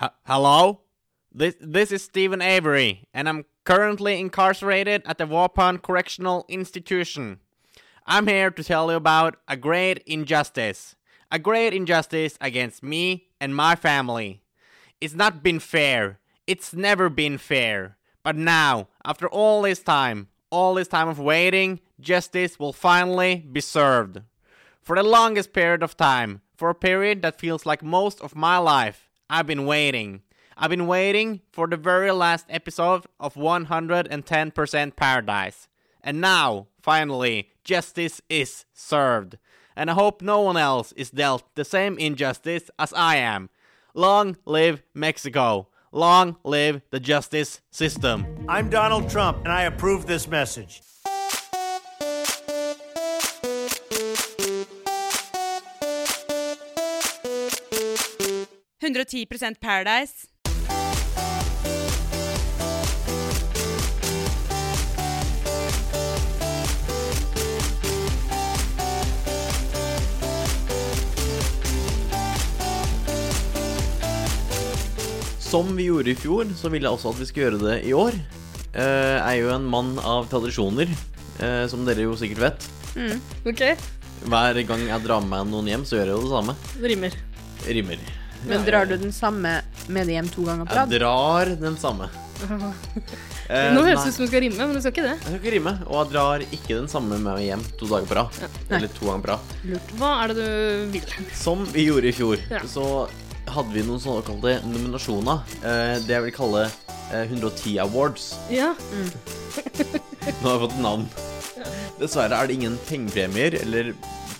H- hello? This this is Stephen Avery, and I'm currently incarcerated at the Waupun Correctional Institution. I'm here to tell you about a great injustice. A great injustice against me and my family. It's not been fair. It's never been fair. But now, after all this time, all this time of waiting, justice will finally be served. For the longest period of time, for a period that feels like most of my life, I've been waiting. I've been waiting for the very last episode of 110% Paradise. And now, finally, justice is served. And I hope no one else is dealt the same injustice as I am. Long live Mexico. Long live the justice system. I'm Donald Trump, and I approve this message. «110% Paradise». Som vi gjorde i fjor, så vil jeg også at vi skal gjøre det i år. Eh, Jeg er jo en mann av tradisjoner, eh, som dere jo sikkert vet. Ok, Hver gang jeg drar med meg noen hjem, så gjør jeg jo det samme. det rimer. Rimmer. Men drar du den samme med det hjem to ganger på Jeg rad? drar den samme. Eh, Nå høres nei, det ut som du skal rime, men du skal ikke det. Jeg skal ikke rime, og jeg drar ikke den samme med meg hjem to dager på rad. Eller to ganger på rad. Hva er det du vil? Som vi gjorde i fjor, Ja. så hadde vi noen såkalte nominasjoner. eh, Det jeg vil kalle eh, 110 Awards. Ja, Nå har jeg fått et navn. Dessverre er det ingen pengepremier eller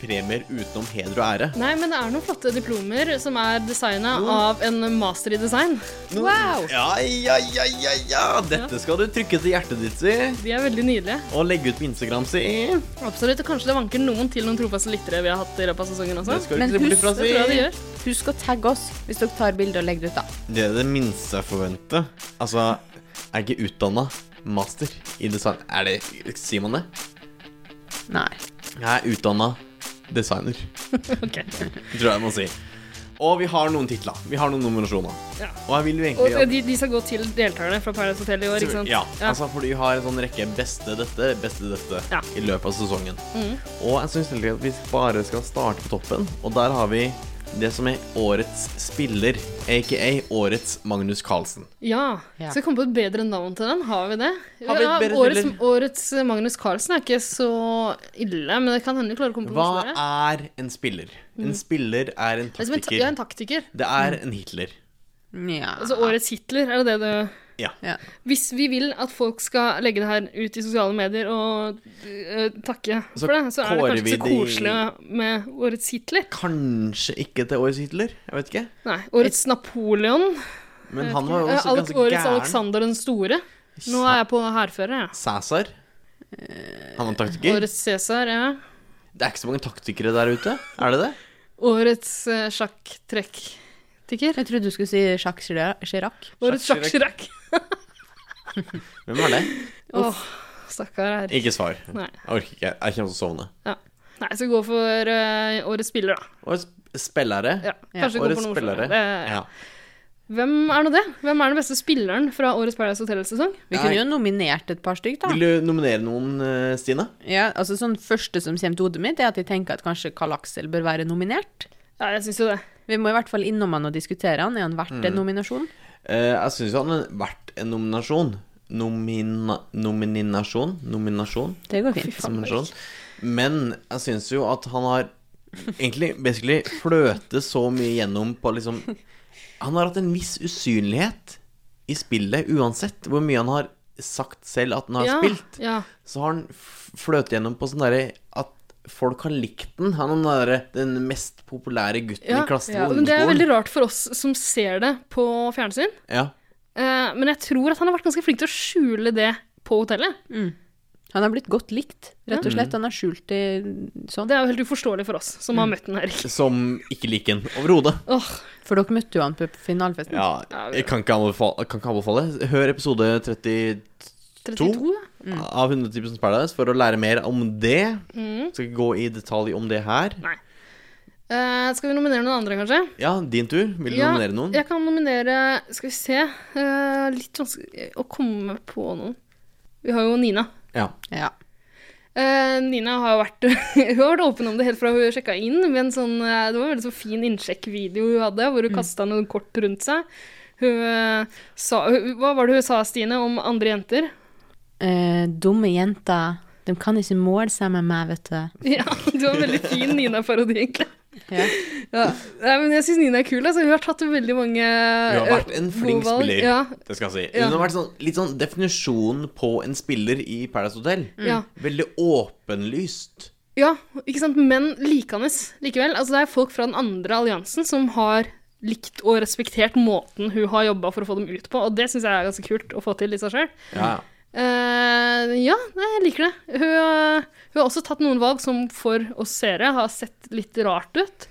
premier utenom heder og ære. nei, men det er noen flotte diplomer som er designet av en master i design. Wow! Ja, ja, ja, ja, ja! Dette skal du trykke til hjertet ditt si, De er veldig nydelige. og legge ut på Instagram si. Absolutt, og kanskje det vanker noen til noen trofaste lyttere vi har hatt i løpet av sesongen Det også. skal du Men ikke se bort husk- ifra Det si. tror jeg de gjør. Husk å tagge oss hvis dere tar bilde og legger det ut, da. Det er det minste jeg forventer. Altså, jeg er ikke utdanna master i design. Er det Sier man det? Nei. Jeg er utdanna designer, Ok. tror jeg jeg må si. Og vi har noen titler. Vi har noen nominasjoner. Ja. Og jeg vil jo egentlig Og de, de skal gå til deltakerne fra Paradise Hotel i år, ikke sant? Ja, altså for du har en sånn rekke beste dette, beste dette Ja. Mm. i løpet av sesongen. Og jeg syns egentlig at vi bare skal starte på toppen, og der har vi det som er årets spiller, aka årets Magnus Carlsen. Ja. Ja. Skal vi komme på et bedre navn til den? Har vi det? Har vi et ja, bedre årets, eller? årets Magnus Carlsen er ikke så ille, men det kan hende vi klarer å komme på Hva noe større. er en spiller? En spiller er en Det er som en ta- taktiker. Ja, en Mm. taktiker. Det er en Hitler. Nja Altså årets Hitler, er det det du Ja. ja. Hvis vi vil at folk skal legge det her ut i sosiale medier og øh, takke Så for det, så er det kårer kanskje vi ikke så de- koselig med årets Hitler. Kanskje ikke til årets Hitler, jeg vet ikke. Nei, årets Napoleon. Men han var jo Eh, også Alex- ganske årets gæren. Alexander den store. Nå er jeg på hærfører, jeg. Cæsar. Han var taktiker. Eh, Årets Cæsar, ja. Det er ikke så mange taktikere der ute, er det det? Årets uh, sjakktrekk-tikker. Jeg trodde du skulle si Jacques Chira- Chirac. Årets Jacques sjakk-sjakk. Hvem er det? Åh, stakkar her. Ikke svar. Nei. Jeg orker ikke. Jeg kommer til å sovne. Ja. Nei, så gå for eh, årets spiller, da. Og sp- spillere. Ja, kanskje gå Årets for noe spillere. Oslo. Det- Ja. Hvem er nå det? Hvem er den beste spilleren fra årets Paradise Hotel-sesong? Vi kunne jo nominert et par stykk, da. Vil du nominere noen, eh, Stine? Ja, altså sånn første som kommer til hodet mitt, er at jeg tenker at kanskje Karl Aksel bør være nominert. Ja, jeg syns jo det. Vi må i hvert fall innom han og diskutere han. Er han verdt Mm. en nominasjon? Eh, jeg syns jo han har vært en nominasjon. Nomina, nominasjon? Nominasjon? Det går fint. Nominasjon. Men jeg syns jo at han har egentlig basically fløtet så mye gjennom på liksom Han har hatt en viss usynlighet i spillet uansett hvor mye han har sagt selv at han har ja, spilt. Ja. så har han f- fløtet gjennom på sånn derre at folk har likt den. Han er den, derre- den mest populære gutten ja. i klassen ja. på Men det er veldig ungdomsskolen. rart for oss som ser det på fjernsyn. Ja. Eh, men jeg tror at han har vært ganske flink til å skjule det på hotellet. Han har blitt godt likt, rett og Mm. slett. Han har skjult det sånn. Det er jo helt uforståelig for oss som har Mm. møtt den, Erik. Som ikke liker den overhodet. Åh, For dere møtte jo han på finalefesten. Ja, jeg kan ikke anbefale, kan ikke anbefale. Hør episode 30 32? To? Mm. av 110 Mm. Paradise for å lære mer om det. Skal ikke gå i detalj om det her. Nei. Eh, skal vi nominere noen andre, kanskje? Ja, din tur. Vil du nominere noen? Jeg kan nominere Skal vi se. eh, litt vanskelig å komme på noen. Vi har jo Nina. Ja. Ja. Eh, Nina har jo vært, hun har vært åpen om det helt fra hun sjekka inn. Med en sånn, eh, det var en veldig sånn fin innsjekkvideo hun hadde, Mm. hvor hun kasta noen kort rundt seg. Hun, eh, sa, hun, hva var det hun sa, Stine, om andre jenter? Eh, dumme jenter. De kan ikke måle seg med meg, vet du. Ja, du har en veldig fin Nina-parodi, egentlig. Ja. Ja. Nei, men jeg syns Nina er kul. Altså. Hun har tatt veldig mange Hun Hun har vært en flink spiller. Eh, Ja, Det skal jeg si. Ja. Hun har vært sånn, litt sånn definisjonen på en spiller i Paradise Hotel. ja. Veldig åpenlyst. Ja, ikke sant? Men likende likevel. Altså, det er folk fra den andre alliansen som har likt og respektert måten hun har jobba for å få dem ut på, og det syns jeg er ganske kult å få til i seg sjøl. Ja, ja. Eh, ja, nei, jeg liker det. Hun, eh, hun har også tatt noen valg som for oss seere har sett litt rart ut,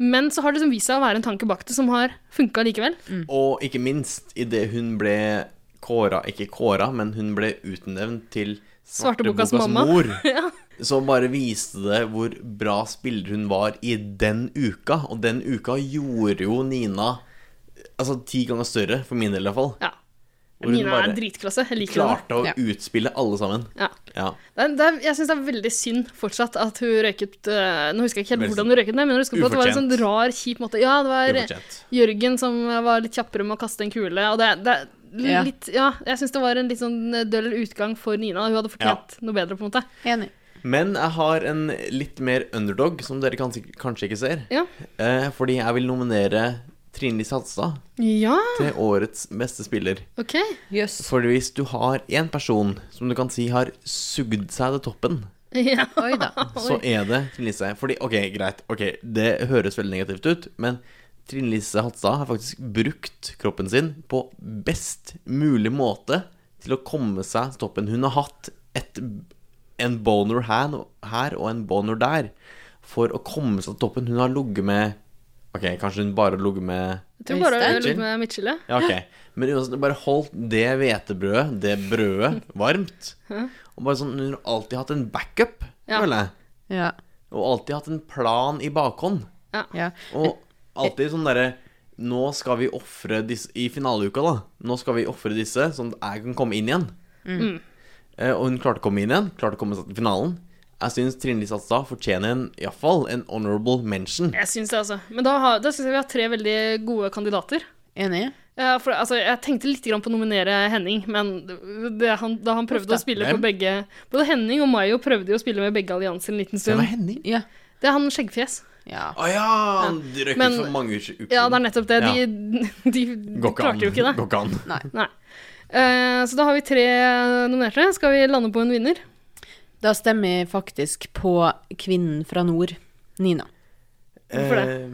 men så har det liksom vist seg å være en tanke bak det som har funka likevel. Mm. Og ikke minst idet hun ble kåra Ikke kåra, men hun ble utnevnt til Svartebokas Svartebokas mamma. mor. Så bare viste det hvor bra spiller hun var i den uka. Og den uka gjorde jo Nina Altså ti ganger større, for min del i hvert fall. Ja. Hvor hun Nina bare er dritklasse. Jeg liker henne. Klarte å Ja. utspille alle sammen. Ja. Ja. Det er, det er, jeg syns det er veldig synd fortsatt at hun røyket eh, Nå husker jeg ikke helt Veldig hvordan hun røyket, det, men jeg husker på at det var en sånn ufortjent. rar, kjip måte. Ja, det var Ufortjent. Jørgen som var litt kjappere med å kaste en kule, og det, det Ja. er litt Ja, jeg syns det var en litt sånn døll utgang for Nina. Hun hadde fortjent noe bedre, på en måte. Enig. Men jeg har en litt mer underdog, som dere kanskje, kanskje ikke ser. Ja. Eh, fordi jeg vil nominere Trine Lise Hadstad ja til årets beste spiller. OK. Jøss. For hvis du har én person som du kan si har sugd seg til toppen, Ja. Oi da. så er det Trine Lise. Fordi, ok, greit, ok, det høres veldig negativt ut, men Trine Lise Hadstad har faktisk brukt kroppen sin på best mulig måte til å komme seg til toppen. Hun har hatt et, en boner her, her og en boner der for å komme seg til toppen. Hun har ligget med Ok, kanskje hun bare har ligget med Jeg tror bare hun Øystein? ligger med midtskille. ja, ok. Men uansett, bare holdt det hvetebrødet, det brødet, varmt. Og bare sånn, hun har alltid hatt en backup, Ja. føler jeg. Ja. Og alltid hatt en plan i bakhånd. ja. Og alltid sånn derre Nå skal vi ofre disse I finaleuka, da. Nå skal vi ofre disse, sånn at jeg kan komme inn igjen. Mm. Eh, og hun klarte å komme inn igjen. Klarte å komme seg til finalen. Jeg syns Trine Lise Hatstad fortjener en, iallfall en honorable mention. Jeg syns det, altså. Men da, har- da syns jeg vi har tre veldig gode kandidater. Enig. Ja, for, altså, jeg tenkte litt grann på å nominere Henning, men det, han, da han prøvde å spille på Hvem? begge Både Henning og Mayo prøvde jo å spille med begge allianser en liten Hvem stund. er Henning? Ja. Det er han skjeggfjes. ja. Å ja! Han røk Men- ut for mange uker uker Ja, det er nettopp det. Ja. De, de, de Går ikke an. klarte jo ikke det. Går ikke an. Nei. Eh, så da har vi tre nominerte. Skal vi lande på en vinner? Da stemmer jeg faktisk på kvinnen fra nord, Nina. Hvorfor det? Eh,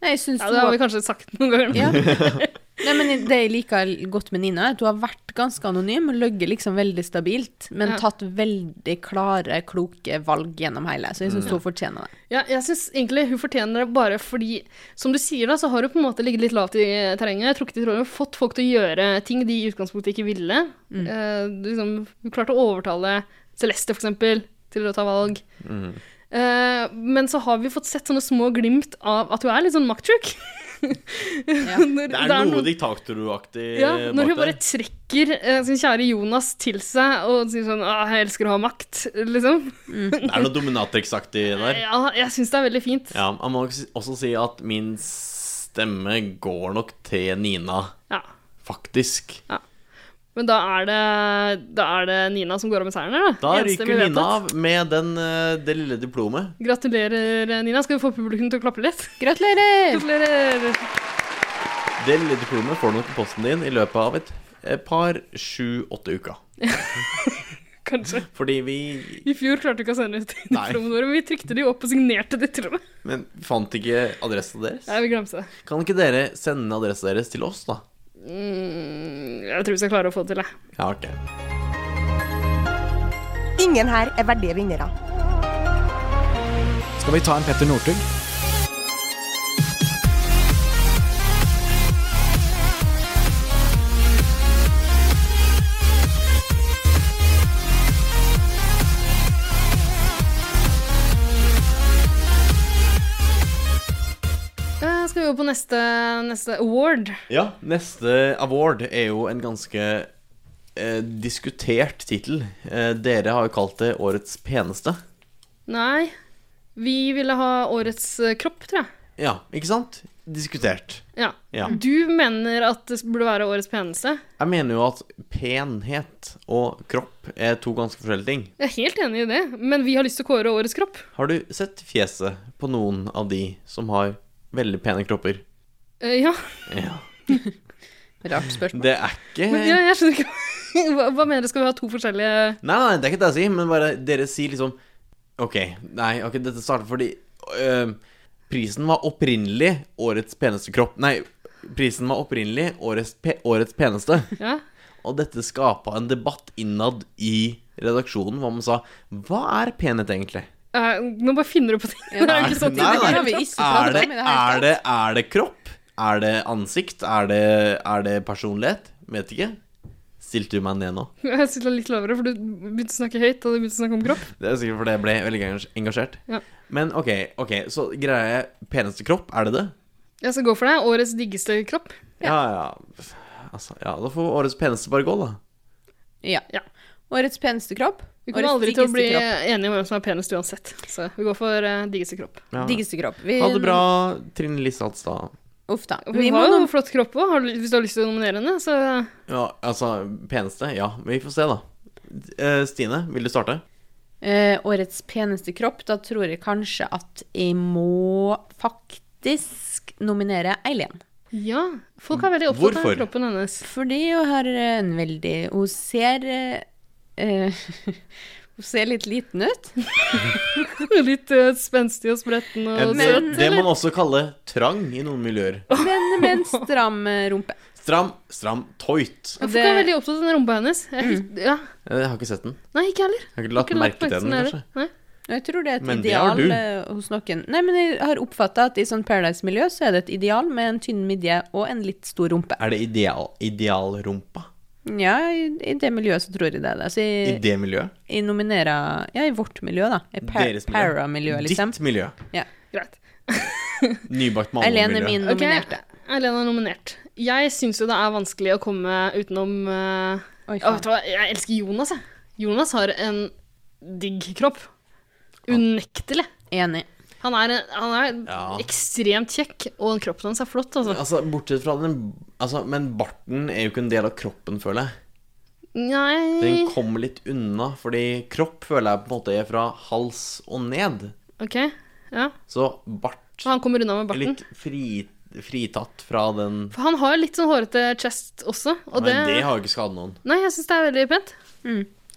Nei, jeg syns Ja, hun Det har vi var- kanskje sagt noen ganger. Ja. Nei, men Det jeg liker godt med Nina, er at hun har vært ganske anonym, løyet liksom veldig stabilt, men Ja. tatt veldig klare, kloke valg gjennom hele. Så jeg syns hun fortjener det. Ja, jeg syns egentlig hun fortjener det bare fordi, som du sier, da, så har hun på en måte ligget litt lavt i terrenget. Jeg tror ikke de tror hun har fått folk til å gjøre ting de i utgangspunktet ikke ville. Eh, liksom, hun klarte å overtale Celeste, for eksempel, til å ta valg. Mm. Eh, men så har vi fått sett sånne små glimt av at hun er litt sånn maktsjuk. Når- Det er, noe diktatoraktig ja, Når hun bak der. bare trekker eh, sin kjære Jonas til seg og sier sånn «Åh, 'Jeg elsker å ha makt', liksom. Det er noe dominatrix-aktig der. Ja, jeg syns det er veldig fint. Ja, jeg må nok si- også si at min stemme går nok til Nina, Ja. faktisk. Men da er det, da er det Nina som går av med seieren, eller? Da Enstemmig ryker Nina vedtatt. av med den, eh, det lille diplomet. Gratulerer, Nina. Skal vi få publikum til å klappe litt? Gratulerer! Gratulerer! Det lille diplomet får du nok i posten din i løpet av et eh, par sju-åtte uker. Kanskje. Fordi vi I fjor klarte vi ikke å sende ut Nei. diplomene våre, men vi trykte de opp og signerte de, tror jeg. Men vi fant ikke adressa deres. Nei, vi glemte det. Kan ikke dere sende adressa deres til oss, da? Mm, jeg tror vi skal klare å få det til, jeg. Ja, ok. Ingen her er verdige vinnere. Skal vi ta en Petter Northug? over på neste, neste award. Ja, neste award er jo en ganske eh, diskutert tittel. Eh, dere har jo kalt det årets peneste. Nei, vi ville ha årets eh, kropp, tror jeg. Ja, ikke sant? Diskutert. Ja. Ja. Du mener at det burde være årets peneste? Jeg mener jo at penhet og kropp er to ganske forskjellige ting. Jeg er helt enig i det, men vi har lyst til å kåre årets kropp. Har du sett fjeset på noen av de som har veldig pene kropper? Eh, ja. Ja. Rart spørsmål. Det er ikke Eh. Men, ja, jeg skjønner ikke hva, hva mener du? Skal vi ha to forskjellige Nei, nei, det er ikke det jeg sier, men bare dere sier liksom Ok, nei, ok, dette starter fordi øhm, Prisen var opprinnelig årets peneste kropp Nei, prisen var opprinnelig årets, pe årets peneste Ja, Og dette skapet en debatt innad i redaksjonen Hvor man sa, hva er penhet egentlig? Eh, Nå bare finner du på ting. det er jo ikke sånn Nei, nei. tidligere. Det har vi ikke Er pratet det, om i det er, hele tatt. det, er det kropp? Er det ansikt? Er det, er det personlighet? Vet ikke Stilte du meg ned nå? Jeg sitter litt lavere, for du begynte å snakke høyt, og du begynte å snakke om kropp. Det er sikkert fordi jeg ble veldig engasj- engasjert. Ja. Men ok, ok, så greia er peneste kropp, er det det? Jeg skal gå for deg. Årets diggeste kropp. Ja, ja. Altså, ja, da får årets peneste bare gå, da. Ja. Ja. Årets peneste kropp. Vi kommer årets aldri til å bli diggeste enige om hvem som er penest uansett. Så vi går for eh, diggeste kropp. Ja. kropp. Diggeste kropp. Vi, Ha det bra, Trine Lisats, da. Uff da. Vi Vi må har jo nå en flott kropp òg, hvis du har lyst til å nominere henne. Så Ja, altså, peneste? Ja, vi får se, da. Eh, Stine, vil du starte? Eh, årets peneste kropp, da tror jeg kanskje at jeg må faktisk nominere Eileen. ja, folk er veldig opptatt Hvorfor? av kroppen hennes. Fordi hun har eh, en veldig Hun ser eh, eh, Hun ser litt liten ut. Litt eh, spenstig og spretten og En, søt. det man også kaller trang i noen miljøer. Men med en stram eh, rumpe. Stram, stram, toit. Eh, Ja, Folk det- er veldig opptatt av den rumpa hennes. Jeg, hus- ja. Jeg har ikke sett den. Nei, ikke heller. Mm. Jeg har ikke lagt merke til den, kanskje. Nei. Og jeg tror det er et Men det har ideal du. eh, hos noen. Nei, men jeg har oppfatta at i sånn Paradise-miljø så er det et ideal med en tynn midje og en litt stor rumpe. Er det ideal, idealrumpa Ja, i, i det miljøet så tror jeg det er det. Så i jeg, det miljøet? jeg nominerer Ja, i vårt miljø, da. I pa Deres miljø. Para-miljøet, liksom. Ditt miljø. Greit. Nybakt Eileen er mamma-miljø. min Ok, nominerte. Erlend er nominert. Jeg syns jo det er vanskelig å komme utenom eh, Oi, Ja, faen. vet du hva? Jeg elsker Jonas, jeg. Jonas har en digg kropp. Unektelig. Enig. Han er, en- han er Ja. ekstremt kjekk, og kroppen hans er flott, altså. Altså, bortsett fra den altså, Men barten er jo ikke en del av kroppen, føler jeg. Den Nei kommer litt unna, fordi kropp føler jeg på en måte er fra hals og ned. Ok, ja. Så bart Og han kommer unna med er barten. litt fri, fritatt fra den For han har litt sånn hårete chest også, og det, Men det har jo ikke skadet noen. Nei, jeg syns det er veldig pent.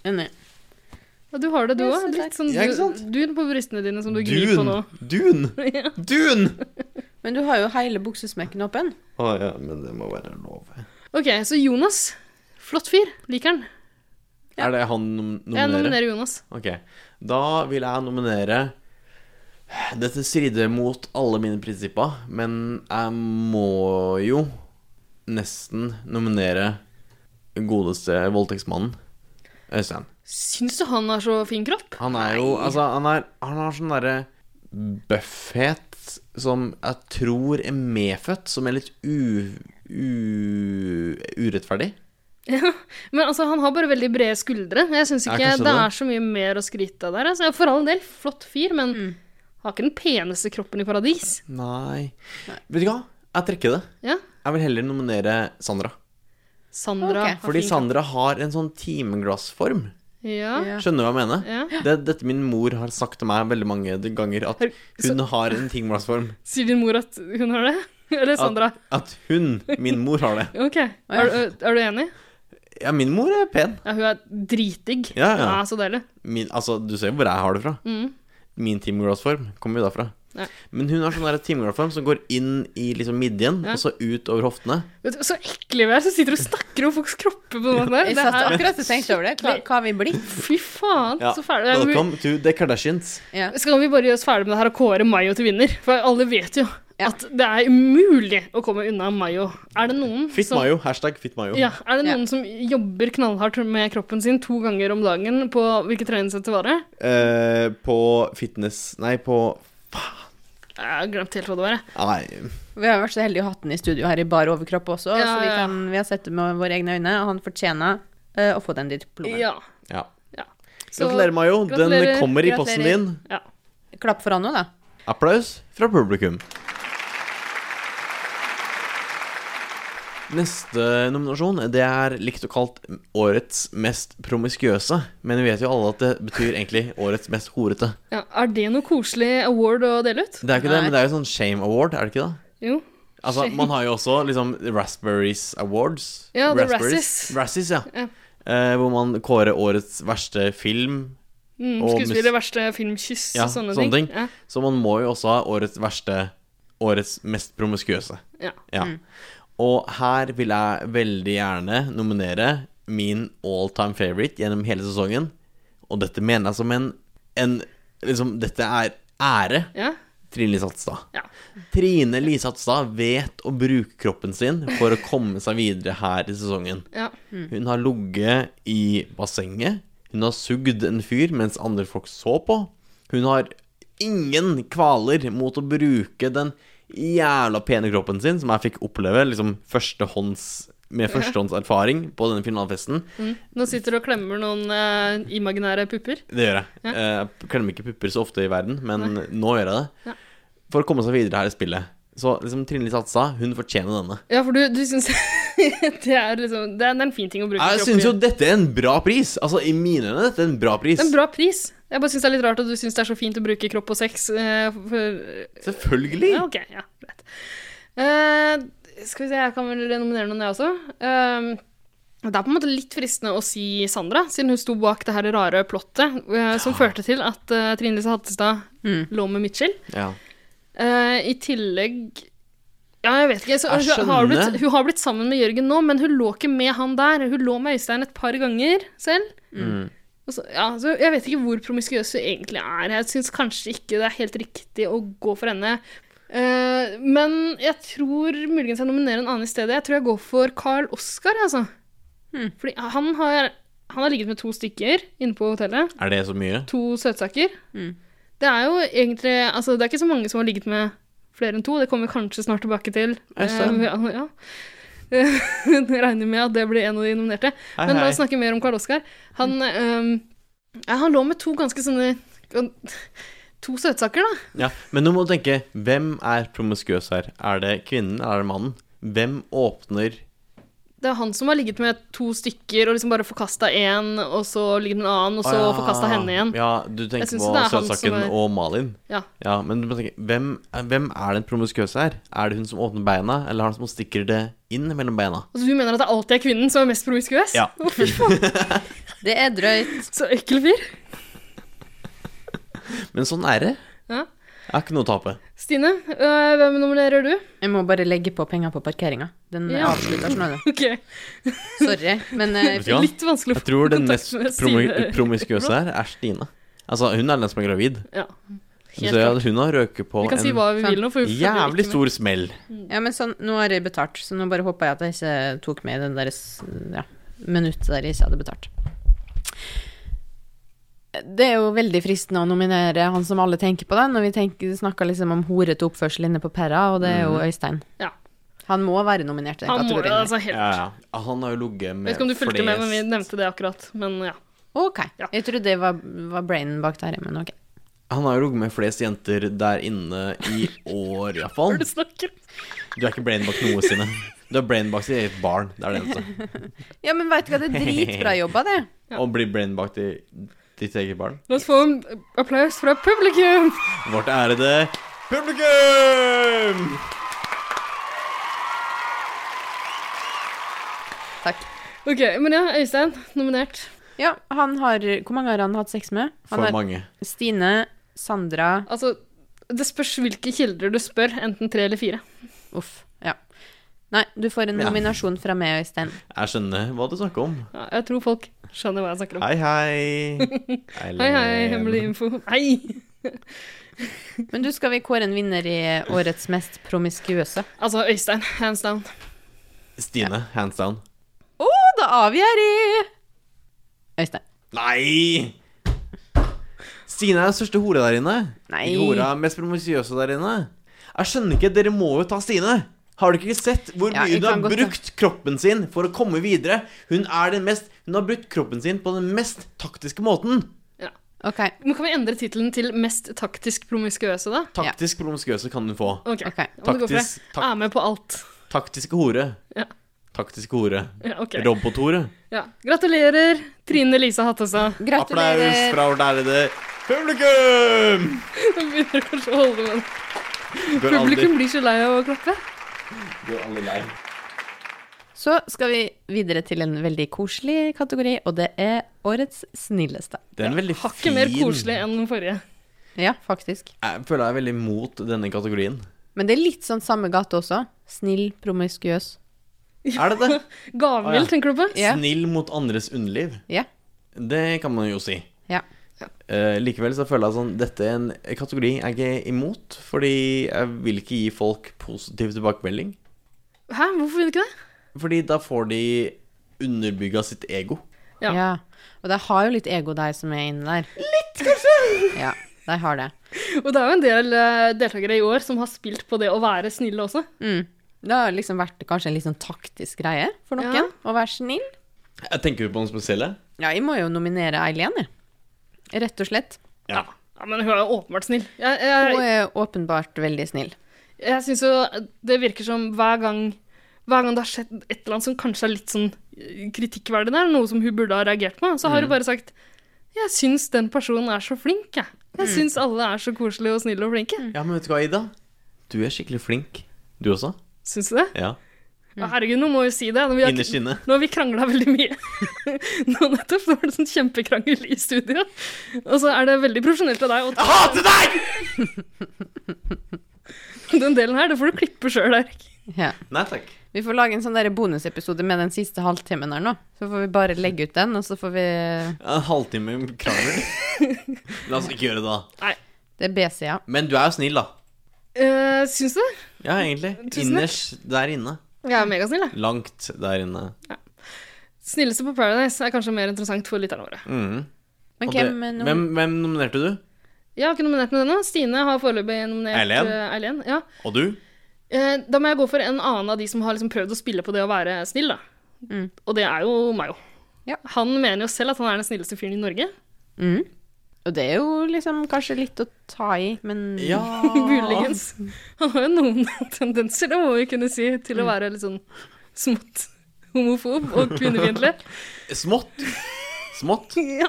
Enig. Og du har det, du Jeg òg. synes Litt sånn Ja, ikke sant? du- dun på brystene dine som du glir på Dun! nå. Dun! Ja. Dun! Men du har jo hele buksesmekken åpen. Å ja, men det må være lov. Ok, så Jonas. Flott fyr. Liker han. Er det han nom Jeg nominerer? nominerer Jonas. Ok. Da vil jeg nominere Dette strider mot alle mine prinsipper, men jeg må jo nesten nominere godeste voldtektsmannen, Øystein. Syns du han har så fin kropp? Han er jo Altså, han, er, han har sånn derre bøffhet som jeg tror er medfødt, som er litt u... u urettferdig. Men altså, han har bare veldig brede skuldre. Jeg syns Ja, ikke kanskje det det. er så mye mer å skryte av der. Altså, for all del, flott fyr, men Mm. har ikke den peneste kroppen i paradis. Nei. Vet du hva? Jeg trekker det. Ja. Jeg vil heller nominere Sandra. Sandra Ok. har Fordi fin Sandra har en sånn timeglassform. kropp. Ja. Ja. Skjønner du hva jeg mener? Ja. Det, dette min mor har sagt til meg veldig mange ganger, at Har- så- hun har en timeglassform. Sier din mor at hun har det? Eller Sandra? At, at hun, min mor, har det. Ok. Er, du- er du enig? Ja, min mor er pen. Ja, hun er dritdigg. Ja, ja. så deilig. Min, altså, du ser jo hvor jeg har det fra. Mm. Min timeglassform kommer jo derfra. Ja. Men hun har sånn der timeglassform som går inn i liksom midjen, Ja. og så ut over hoftene. Vet du, så ekle vi er som sitter og snakker om folks kropper på den måten der. Jeg Det satt er, akkurat og tenkte over det. Hva, hva har vi blitt? fy faen, Ja. så fæle. Det er mye- Welcome to the Kardashians. Ja. Skal vi bare gjøre oss ferdig med det her og kåre Mayo til vinner? For alle vet jo Ja. at det er umulig å komme unna Mayo. Er det noen Fit som Mayo. Hashtag Fit Mayo. ja, er det Ja. noen som jobber knallhardt med kroppen sin to ganger om dagen på hvilket treningssett det var? Eh, på fitness Nei, på Jeg har glemt helt hva det var. jeg. Nei, Vi har vært så heldige å ha hatt den i studio her i bar overkropp også, Ja, så vi, ja. kan, vi har sett det med våre egne øyne, og han fortjener eh, å få den diplomen. Ja. ja. ja. Så- Gratulerer, Mayo. Den gratulerer. kommer i posten gratulerer. din. Ja. Klapp for han nå, da. Applaus fra publikum. Neste nominasjon det er likt og kalt årets mest promiskuøse. Men vi vet jo alle at det betyr egentlig årets mest horete. ja. Er det noe koselig award å dele ut? Det er ikke det, men det er jo sånn shame award, er det ikke det? Jo. Altså, Shame. Man har jo også liksom Raspberries Awards. Ja, the Raspberries. Razzies. Razzies, ja. Ja. Eh, hvor man kårer årets verste film. Mm, Og skuespiller, mus- verste filmkyss Ja, og sånne, sånne ting. ting. Ja. Så man må jo også ha årets verste, årets mest promiskuøse. Ja. Ja. Og her vil jeg veldig gjerne nominere min all time favorite gjennom hele sesongen. Og dette mener jeg som en, en Liksom, dette er ære. Ja. Trine Lisatstad. Ja. Trine Lisatstad vet å bruke kroppen sin for å komme seg videre her i sesongen. Ja. Hun har ligget i bassenget. Hun har sugd en fyr mens andre folk så på. Hun har ingen kvaler mot å bruke den jævla pene kroppen sin, som jeg fikk oppleve liksom førstehånds, med førstehåndserfaring på denne finalefesten. Nå sitter du og klemmer noen eh, imaginære pupper. Det gjør jeg. Jeg klemmer ikke pupper så ofte i verden, men nå gjør jeg det. Ja. For å komme seg videre her i spillet. Så liksom Trine Lise Hatsa, hun fortjener denne. Ja, for du, du syns det, er liksom, det, er, det er en fin ting å bruke Jeg kroppen syns jo i. dette er en bra pris. Altså, i mine øyne, dette er en bra pris. Det er en bra pris. Jeg bare syns det er litt rart at du syns det er så fint å bruke kropp og sex. eh, for, Selvfølgelig. ja, ok, ja, greit. Eh, skal vi se, jeg kan vel nominere noen, jeg også. Eh, det er på en måte litt fristende å si Sandra, siden hun sto bak det her rare plottet eh, som førte til at eh, Trine Lise Hattestad Mm. lå med Mitchell. Ja. Eh, I tillegg Ja, jeg vet ikke. Så, Jeg hun, har skjønner. blitt, hun har blitt sammen med Jørgen nå, men hun lå ikke med han der. Hun lå med Øystein et par ganger selv. Mm. Og så, ja, så jeg vet ikke hvor promiskuøs hun egentlig er. Jeg syns kanskje ikke det er helt riktig å gå for henne. Eh, men jeg tror muligens jeg nominerer en annen i stedet. Jeg tror jeg går for Carl Oskar, altså. Fordi han har, han har ligget med to stykker inne på hotellet Er det så mye? to søtsaker. Mm. Det er jo egentlig Altså, det er ikke så mange som har ligget med flere enn to. Det kommer vi kanskje snart tilbake til. Øystein. Eh, ja, ja. Eh, Jeg regner med at det blir en av de nominerte. Hei, Men la hei. Mm. oss snakke mer om Karl Oskar. Han, eh, ja, han lå med to ganske sånne To søtsaker, da. Ja. Men nå må du tenke, hvem er promiskuøs her? Er det kvinnen, eller er det mannen? Hvem åpner Det er han som har ligget med to stykker og liksom bare forkasta én, og så ligget med en annen, og så Å, ja. forkastet forkasta henne igjen. Ja, du tenker synes på det er han som Søtsaken er- og Malin. Ja. Ja, men du må tenke, hvem, hvem er den promiskuøse her? Er det hun som åpner beina, eller han som stikker det inn mellom beina? Og så du mener at det alltid er kvinnen som er mest promiskuøs? Ja. Å, fy faen, Det er drøyt. så ekkel fyr. Men sånn er det. Ja. Jeg har ikke noe å tape. Stine, øh, hvem nominerer du? Jeg må bare legge på penger på parkeringa. Den Ja. avslutter sånn. Ok, Sorry, men eh, Vet du hva? Litt vanskelig å Jeg tror den mest kontakt med promi Stine. promiskuøse her er Stine. Altså, hun er den som er gravid. Ja, Så helt klart. hun har røket på Vi kan si hva vi vil nå. For vi følger jævlig ikke med. stor smell. Ja, men sånn, nå har jeg betalt, så nå bare håper jeg at jeg ikke tok med den deres ja, minuttet der jeg ikke hadde betalt. Det er jo veldig fristende å nominere han som alle tenker på, da, når vi tenker, snakker liksom om horete oppførsel inne på Perra, og det er jo Øystein. Mhm. Ja, Han må være nominert i den han må jo kategorien. der. altså helt Ja, ja. Han har jo ligget med Jeg vet ikke om du fulgte med, men vi flest- nevnte det akkurat. Men ja. Ok, Ja. jeg trodde det var, var brainen bak der, men ok. Han har jo ligget med flest jenter der inne i år, iallfall. Hør du snakker. Du er ikke brain bak noe sine. Du er brain bak sitt eget barn. Det altså. er det eneste. Ja, men veit du hva, det er dritbra jobba, det. Å bli brain bak i ditt eget barn. La oss få en applaus fra publikum! Vårt ærede publikum! Takk. Ok, men ja, Øystein, nominert. Ja, han har Hvor mange har han hatt sex med? Han For har mange. Stine, Sandra Altså, det spørs hvilke kilder du spør, enten tre eller fire. Uff. Ja. Nei, du får en Ja. nominasjon fra meg, Øystein. Jeg skjønner hva du snakker om. Ja, jeg tror folk skjønner hva jeg snakker om. Hei, hei. Hei, hei, Eileen. hemmelig info. Hei! Men du, skal vi kåre en vinner i årets mest promiskuøse? Altså, Øystein, hands down. Stine, hands down. Å, da avgjør jeg! Øystein. Nei! Stina er den største hora der inne. Nei. Ikke Hora mest promisjøse der inne. Jeg skjønner ikke, dere må jo ta Stine. Har du ikke sett hvor Ja, mye hun jeg har kan godt ta- brukt kroppen sin for å komme videre? Hun er den mest Hun har brukt kroppen sin på den mest taktiske måten. OK. Men kan vi endre tittelen til 'Mest taktisk promiskuøse', da? Taktisk promiskuøse kan hun få. Ok, Ok. da må du gå for det. Taktisk- tak- Ah. Er med på alt. Taktiske hore. Ja. Taktiske hore. Ja, ok. Robothore. Ja. Gratulerer, Trine Lisa Hattestad. Applaus Gratulerer. fra vårt ærede publikum! Nå begynner kanskje å holde med det. Går aldri, Publikum blir så lei av å klappe. går aldri lei. Så skal vi videre til en veldig koselig kategori, og det er årets snilleste. Det er en veldig Hakket mer fin- koselig enn den forrige. Ja, faktisk. Jeg føler jeg er veldig mot denne kategorien. Men det er litt sånn samme gate også. Snill, promiskuøs. Er det det? Gavmild, Å, ja. tenker du på? Ja. Snill mot andres underliv. Ja. Det kan man jo si. Ja. Eh, likevel så føler jeg sånn dette er en kategori jeg ikke er imot, fordi jeg vil ikke gi folk positiv tilbakemelding. Hæ, hvorfor vil du ikke det? Fordi da får de underbygga sitt ego. Ja. Ja. Og de har jo litt ego, de som er inne der. Litt, kanskje? Ja, de har det. Og det er jo en del eh, deltakere i år som har spilt på det å være snille også. Mm. Det har liksom vært kanskje en litt sånn taktisk greie for noen Ja. å være snill. Jeg tenker jo på noen spesielle. Ja, jeg må jo nominere Eileen, jeg. Rett og slett. Ja. Ja, Men hun er jo åpenbart snill. Jeg, Hun jeg, er åpenbart veldig snill. jeg syns jo det virker som hver gang, hver gang det har skjedd et eller annet som kanskje er litt sånn eh, kritikkverdig der, noe som hun burde ha reagert på, så har Mm. hun bare sagt Jeg syns den personen er så flink, jeg. Mm. Jeg syns alle er så koselige og snille og flinke. ja, men vet du hva, Ida? Du er skikkelig flink. Du også? Syns du det? Ja. Ja, herregud, nå må vi si det. Nå, vi har, Mm. Innerst inne. nå har vi krangla veldig mye. nå nettopp så var det sånn kjempekrangel i studio. Og så er det veldig profesjonelt av deg å ta Hater deg! den delen her. Det får du klippe sjøl, Erik. Ja. Nei takk. Vi får lage en sånn der bonusepisode med den siste halvtimen her nå. Så får vi bare legge ut den, og så får vi En halvtime med krangel. La oss ikke gjøre det, da. Det er BCA. Men du er jo snill, da. Uh, syns du det? Ja, egentlig. Tusen takk. Innerst der inne. Jeg er megasnill, jeg. Langt der inne. Snilleste på Paradise er kanskje mer interessant for lytterne våre. Mhm. Men Og hvem, eh, det- nom- hvem, hvem nominerte du? Jeg har ikke nominert noen ennå. Stine har foreløpig nominert Eileen? eh, Eileen. Ja. Og du? Eh, da må jeg gå for en annen av de som har liksom prøvd å spille på det å være snill, da. Mm. Og det er jo Mayo. Ja. Han mener jo selv at han er den snilleste fyren i Norge. Mm. Og det er jo liksom kanskje litt å ta i, men Muligens. Han har jo noen tendenser, det må vi kunne si, til Mm. å være litt sånn smått homofob og kvinnefiendtlig. Smått. Smått. Ja,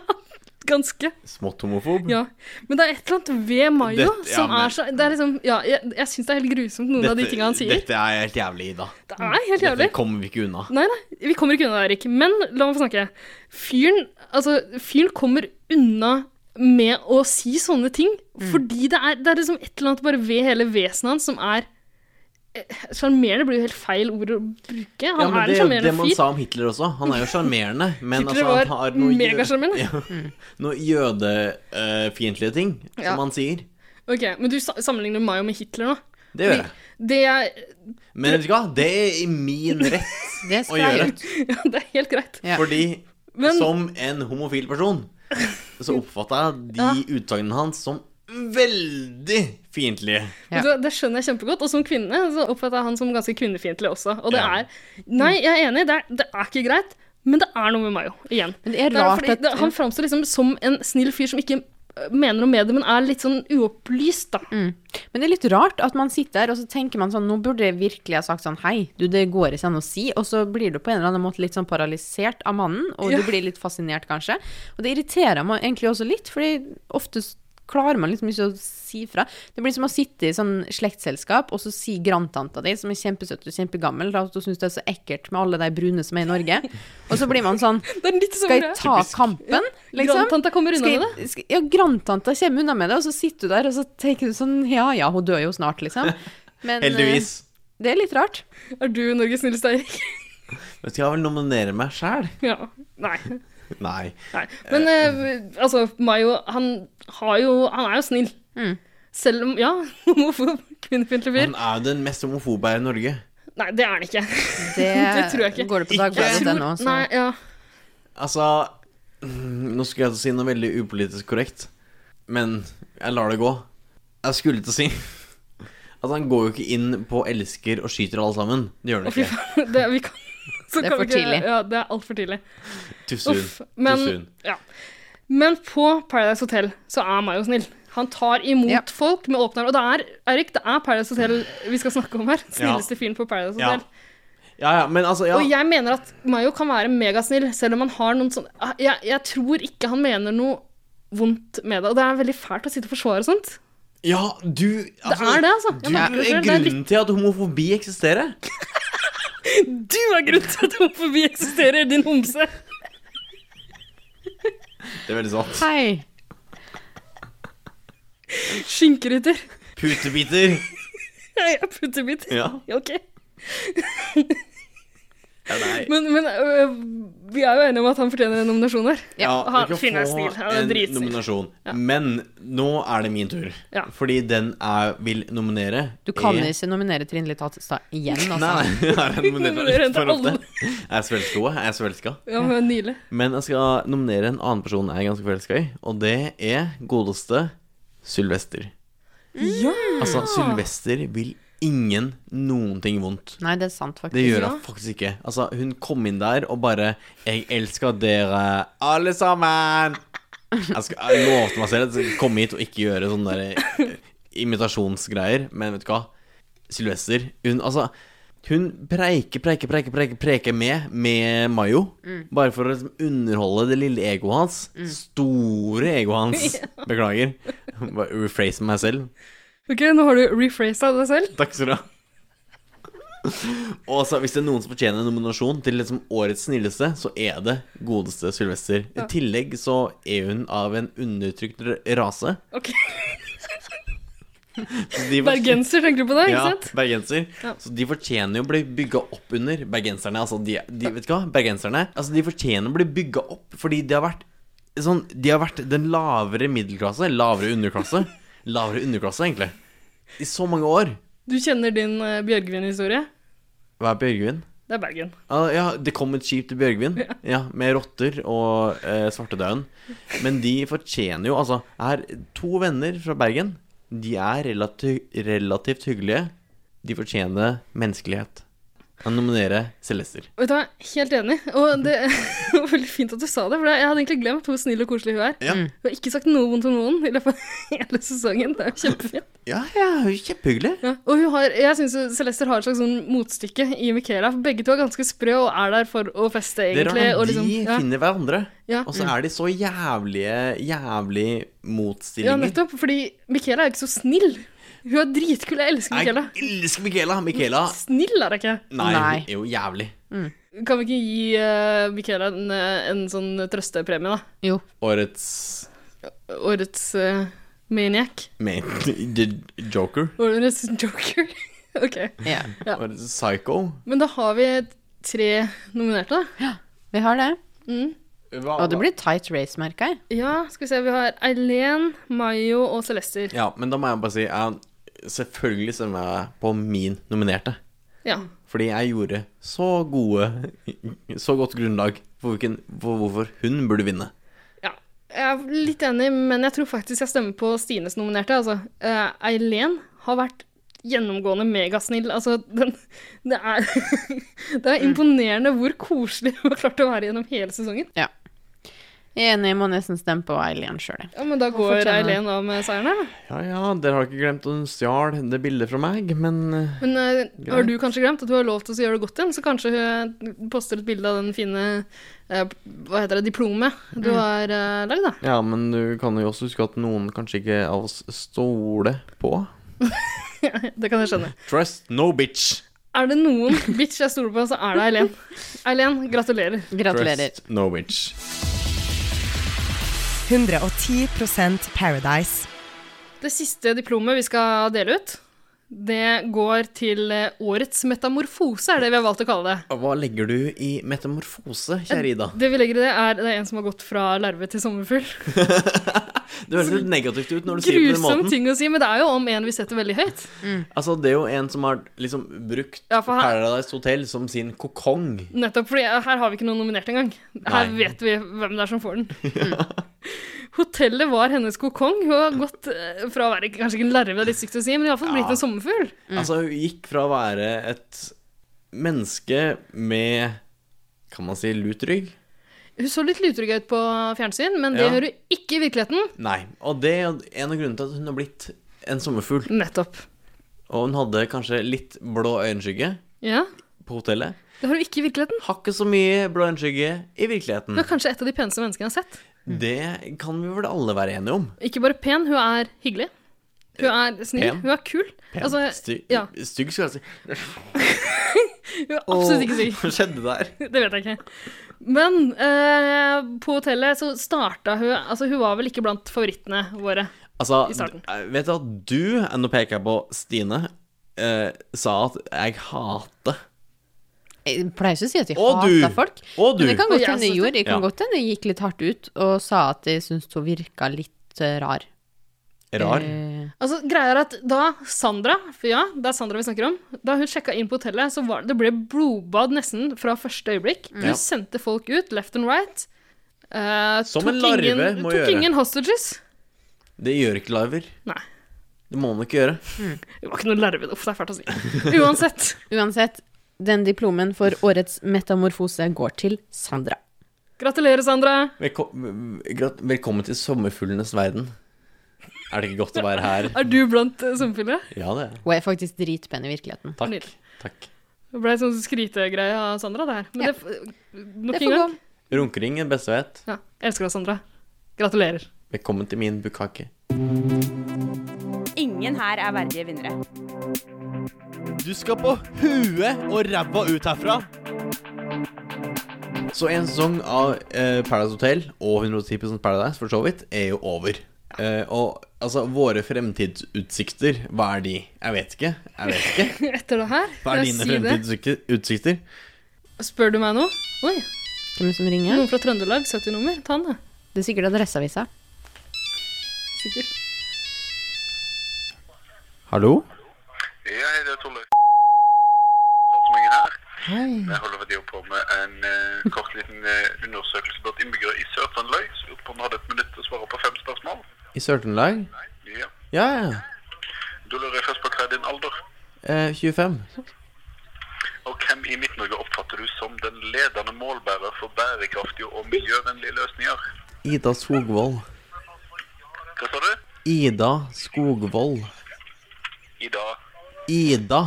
ganske. Smått homofob. Ja. Men det er et eller annet ved Mayo Dette- ja, som men- er så det er liksom, ja, Jeg, jeg syns det er helt grusomt, noen av de tingene han sier. Dette er helt jævlig, Ida. Det er helt jævlig. Dette kommer vi ikke unna. Nei, nei, vi kommer ikke unna, Erik. Men la meg få snakke. Fyren, altså, fyren kommer unna med å si sånne ting, Mm. fordi det er, det er liksom et eller annet bare ved hele vesenet hans som er eh, Sjarmerende blir jo helt feil ord å bruke. Han Ja, men det er jo er en det sjarmerende man fyr. sa om Hitler også. Han er jo sjarmerende, men Hitler altså, han var har noe jø- megasjarmerende. Ja, noe jødefiendtlige eh, ting, Ja. som han sier. Ok, Men du sa- sammenligner meg jo med Hitler nå. Det gjør jeg. Det er, Men vet du hva, det er i min rett det å skal jeg gjøre. ut. ja, det er helt greit. Ja. Fordi Men- som en homofil person, så oppfatter jeg de utsagnene hans som veldig fiendtlige. Ja. Det, det skjønner jeg kjempegodt. Og som kvinne så oppfatter jeg han som ganske kvinnefiendtlig også. Og det Ja. er Nei, jeg er enig, det er, det er ikke greit, men det er noe med Mayo. Igjen. Men det er Det er rart fordi at det, han framstår liksom som en snill fyr som ikke øh, mener noe med det, men er litt sånn uopplyst, da. mm. Men det er litt rart at man sitter her og så tenker man sånn Nå burde jeg virkelig ha sagt sånn Hei, du, det går ikke an å si. Og så blir du på en eller annen måte litt sånn paralysert av mannen, og Ja. du blir litt fascinert, kanskje. Og det irriterer meg egentlig også litt, fordi ofte s- klarer man liksom ikke å si fra. Det blir som å sitte i sånn slektsselskap, og så sier grandtanta di, som er kjempesøt og kjempegammel, at hun syns det er så ekkelt med alle de brune som er i Norge. Og så blir man sånn Det er litt som Skal jeg ta kampen, liksom? Grandtanta kommer unna Skal jeg- med det. skal- Ja, grandtanta kommer unna med det, og så sitter du der og så tenker du sånn Ja ja, hun dør jo snart, liksom. Men eh, Heldigvis. det er litt rart. Er du Norges snilleste, Eirik? Men skal jeg vel nominere meg sjæl? ja. Nei. Nei. Nei. Men eh, altså, Mayo, han har jo Han er jo snill. Mm. Selv om Ja, homofob, kvinnefiendtlig fyr. Han er jo den mest homofobe her i Norge. Nei, det er han ikke. Det, Det tror jeg ikke. Går det på Ikke- Jeg tror- dagbladet.no, så Nei, ja. Altså mm, Nå skulle jeg til å si noe veldig upolitisk korrekt. men jeg lar det gå. Jeg skulle til å si at han går jo ikke inn på elsker og skyter alle sammen. Det gjør han Å, fy ikke. faen. Det, vi kan, så Det er kan vi for ikke- tidlig. Ja, det er altfor tidlig. Too soon. Uff, men, soon. ja. men på Paradise Hotel så er Mayo snill. Han tar imot Ja. folk med åpne armer. Og det er, Erik, det er Paradise Hotel vi skal snakke om her. Snilleste fyren på Paradise Ja. Hotel. Ja, ja, men altså, ja. Og jeg mener at Mayo kan være megasnill, selv om han har noen sånne jeg, jeg tror ikke han mener noe vondt med det. Og det er veldig fælt å sitte og forsvare sånt. Ja, du altså, det er det, altså. Du, Ja, men- det er det er litt- grunnen til at homofobi eksisterer. Du er grunnen til at homofobi eksisterer, din homse! Det er veldig sant. Hei. Skinkerytter. Putebiter. Jeg er puttebiter. Ja. Ok. ja nei. Men, men øh, vi er jo enige om at han fortjener en nominasjon her. Ja, han- du kan Finn er få snill, han er en dritsnill. nominasjon. Men nå er det min tur. Ja. Fordi den jeg vil nominere Du kan er- ikke nominere Trine Litt Hattestad igjen, altså. Nei, nei, jeg er Nominerer nominert henne til for ofte. alle. Jeg er svelska. Jeg er svelska. Ja, men Nile. Men jeg skal nominere en annen person jeg er ganske forelska i, og det er godeste Sylvester. Ja! Altså, Sylvester vil ingen noen ting vondt. Nei, det er sant, faktisk. Det gjør hun faktisk ikke. Altså, hun kom inn der og bare 'Jeg elsker dere, alle sammen'. Jeg, skal, jeg lovte meg selv at jeg skulle komme hit og ikke gjøre sånne der eh, imitasjonsgreier, men vet du hva? Sylvester, hun altså Hun preiker, preiker, preiker, preiker, preiker med med Mayo. Bare for å liksom underholde det lille egoet hans. Store egoet hans. Beklager. Bare rephrase meg selv. Ok, nå har du rephrasa deg selv. Takk skal du ha. Og altså, Hvis det er noen som fortjener en nominasjon til liksom årets snilleste, så er det godeste Sylvester. I tillegg så er hun av en undertrykt r- rase. Ok, Så de for- Bergenser tenker du på det, ikke Ja, sant? bergenser. Ja. Så de fortjener jo å bli bygga opp under bergenserne. Altså, de, de, vet du hva? Bergenserne altså, de fortjener å bli bygga opp fordi de har vært sånn De har vært den lavere middelklasse. Lavere underklasse. Lavere underklasse, egentlig. I så mange år. Du kjenner din uh, Bjørgvin-historie. Hva er Bjørgvin? Det er Bergen. Ja, ja, det kom et skip til Bjørgvin ja. med rotter og eh, svartedauden. Men de fortjener jo Altså, jeg har to venner fra Bergen. De er relati relativt hyggelige. De fortjener menneskelighet. Jeg nominerer Celester. Vet du hva, Helt enig. Og det var veldig fint at du sa det, for jeg hadde egentlig glemt hvor snill og koselig hun er. Ja. Du har ikke sagt noe vondt om noen i løpet av hele sesongen. Det er jo kjempefint. Ja, ja, hun er kjempehyggelig. Ja. Og hun har, jeg syns Celeste har et slags sånn motstykke i Michaela. For begge to er ganske sprø og er der for å Det feste, er egentlig. rart og at de liksom, ja. finner altså, hverandre, Ja. og så er de så jævlige, jævlig Ja, motstillinger. nettopp. Fordi Michaela er jo ikke så snill. Hun er dritkul. Jeg elsker Michaela. Jeg elsker Michaela. Michaela Snill er hun ikke. Nei, Nei. hun er jo jævlig. Kan vi ikke gi eh, Michaela en, eh, en sånn trøstepremie, da? Jo. Årets Årets eh, maniac. main The Joker. Årets joker. ok. Ja. Ja. Årets Psycho. Men da har vi tre nominerte, da. Vi har det. Mm. Og det blir tight race, merker jeg. Ja, skal vi se. Vi har Eileen, Mayo og Celester. Ja, men da må jeg bare si jeg Selvfølgelig stemmer jeg på min nominerte. Ja. Fordi jeg gjorde så gode Så godt grunnlag for, hvilken, for hvorfor hun burde vinne. ja. Jeg er litt enig, men jeg tror faktisk jeg stemmer på Stines nominerte. Altså, Eh, Eileen har vært gjennomgående megasnill. Altså, den, det er Det Mm. er imponerende hvor koselig hun har klart å være gjennom hele sesongen. Jeg er enig, jeg må nesten stemme på Eileen sjøl. Ja, men da går fortjener hun. Eileen av med seieren her, da. Ja ja, dere har ikke glemt at hun stjal det bildet fra meg, men eh, Men eh, har du kanskje glemt at du har lov til å gjøre det godt igjen? Så kanskje hun poster et bilde av den fine eh, hva heter det, diplomet Mm. du har uh, lagd, da. Ja, men du kan jo også huske at noen kanskje ikke av oss stoler på. Det kan jeg skjønne. Trust no bitch. Er det noen bitch jeg stoler på, så er det Eileen. Eileen, gratulerer. Gratulerer. Trust no bitch. 110 Paradise. Det siste diplomet vi skal dele ut, det går til eh, årets metamorfose, er det vi har valgt å kalle det. Hva legger du i metamorfose, kjære Ida? Det vi legger i det, er det er en som har gått fra larve til sommerfugl. Det høres litt negativt ut når du sier det på den Grusom måten. ting å si, men det er jo om en vi setter veldig høyt. Altså, det er jo en som har liksom brukt Ja, for han- Paradise Hotel som sin kokong. eh, Nettopp, fordi her har vi ikke noen nominert engang. Her Nei. vet vi hvem det er som får den. Hotellet var hennes kokong. Hun har gått eh, fra å være kanskje ikke en larve, det er litt stygt å si, men iallfall blitt en sommerfugl. Altså, hun gikk fra å være et menneske med Kan man si lut rygg? Hun så litt lutrygg ut på fjernsyn, men det Ja. gjør hun ikke i virkeligheten. Nei. Og det er en av grunnene til at hun har blitt en sommerfugl. Nettopp. Og hun hadde kanskje litt blå øyenskygge Ja, på hotellet. det har hun ikke i virkeligheten. Har ikke så mye blå øyenskygge i virkeligheten. Hun er kanskje et av de peneste menneskene jeg har sett. Det kan vi vel alle være enige om. Ikke bare pen, hun er hyggelig. Hun er snill. Pen. Hun er kul. Altså, Sty ja, Stygg, skal jeg si. hun er absolutt ikke syk. Hva skjedde der? Det vet jeg ikke. Men eh, på hotellet så starta hun Altså, hun var vel ikke blant favorittene våre. Altså, I starten. d- vet du at du, nå peker jeg på Stine, eh, sa at jeg hater Jeg pleier ikke å si at jeg Og du. hater folk. Og du. Men det kan Og godt jeg hende jeg synes gjorde. Jeg kan Ja. godt hende jeg gikk litt hardt ut og sa at jeg syntes hun virka litt eh, rar. Rar. Eh, Altså, greia er at da Sandra For ja, det er Sandra vi snakker om. Da hun sjekka inn på hotellet, så var det, det ble blodbad nesten fra første øyeblikk. Hun Ja. sendte folk ut left and right. Eh, Som tok en larve ingen, må tok gjøre. ingen hostages. Det gjør ikke larver. Nei. Det må man ikke gjøre. Hun var ikke noen larve. Uff, det er fælt å si. Uansett. Uansett, den diplomen for årets metamorfose går til Sandra. Gratulerer, Sandra. Velko grat- velkommen til sommerfuglenes verden. Er det ikke godt å være her? Er du blant eh, sommerfugler? Ja, det er Hun er faktisk dritpen i virkeligheten. Takk. Nydelig. Takk. Det ble en sånn skrytegreie av Sandra, det her. Men Ja. det, f- nok Det en får gå. gang. Runkering er det beste jeg vet. Ja, jeg elsker deg, Sandra. Gratulerer. Velkommen til min bukkake. Ingen her er verdige vinnere. Du skal på huet og ræva ut herfra. Så en sesong av eh, Paradise Hotel og 110 Paradise for så vidt er jo over. Eh, og altså, våre fremtidsutsikter, hva er de? Jeg vet ikke. Jeg vet ikke. Etter det her, Hva er jeg dine sier det. fremtidsutsikter? Spør du meg nå? Oi, Hvem som ringer? noen fra Trøndelag, 70-nummer. Ta den, da. Det er sikkert Adresseavisa. Sikkert. Hallo? Ja, hei, det er Tolle Statsmengen her. Jeg holder ved å på med en eh, kort liten eh, undersøkelse blant innbyggere i Sør-Trøndelag. Så lurte på om du hadde et minutt til å svare på fem spørsmål. I Sør-Trøndelag? Ja. Ja, ja. Da lurer jeg først på hva er din alder? Eh, 25. Og hvem i Midt-Norge oppfatter du som den ledende målbærer for bærekraftige og miljøvennlige løsninger? Ida Skogvold. Hva sa du? Ida Skogvold. I dag. Ida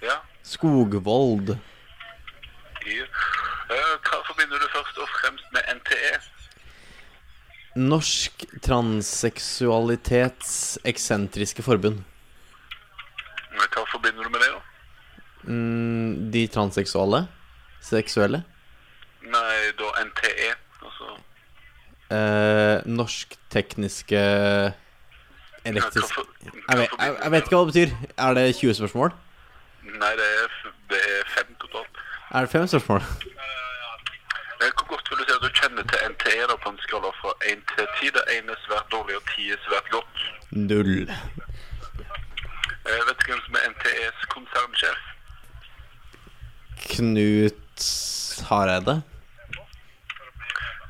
Ja. Skogvold. I. Eh, hva forbinder du først og fremst med E? NTE? Norsk transseksualitets eksentriske forbund. Hva forbinder du med det, da? Mm, de transseksuale? Seksuelle? Nei, da NTE. Altså, Eh, norsk tekniske elektrisk hva for- jeg vet, jeg, jeg vet ikke hva det betyr. Er det 20 spørsmål? Nei, det er, f- det er fem totalt. Er det 5 spørsmål? Eh, Hvor godt vil du si at du kjenner til NTE da, på en skala fra 1 til 10? Det ene er svært dårlig, og 10 er svært godt. Null. Eh, vet du hvem som er NTEs konsernsjef? Knut Hareide?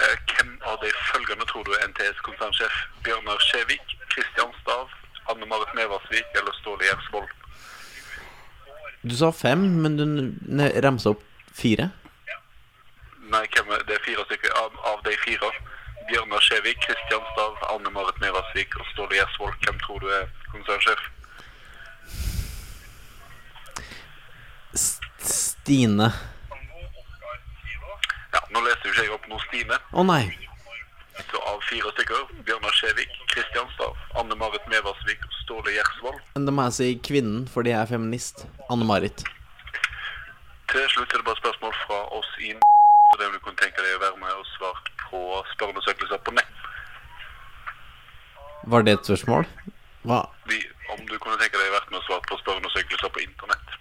Eh, hvem av de følgende tror du er NTEs konsernsjef? Bjørnar Skjevik, Kristian Stav, Anne Marit Neversvik eller Ståle Gjersvold? Du sa fem, men du ne- ramsa opp fire. Nei, hvem er, det er fire stykker av, av de fire. Bjørnar Skjevik, Kristian Stav, Anne Marit Neversvik og Ståle Gjersvold. Hvem tror du er konsernsjef? St Stine. Ja, nå leste jo ikke jeg opp noe Stine. Å nei. Så av fire stykker, Bjørnar Skjevik, Kristian Stav, Anne Marit Neversvik og Ståle Gjersvold. Men Da må jeg si kvinnen, fordi jeg er feminist. Anne-Marit. Til slutt er det bare spørsmål fra oss i n- og det om du kunne tenke deg å være med og svare på spørreundersøkelser på nett. Var det et spørsmål? Hva? Vi, om du kunne tenke deg å være med og svare på spørreundersøkelser på internett.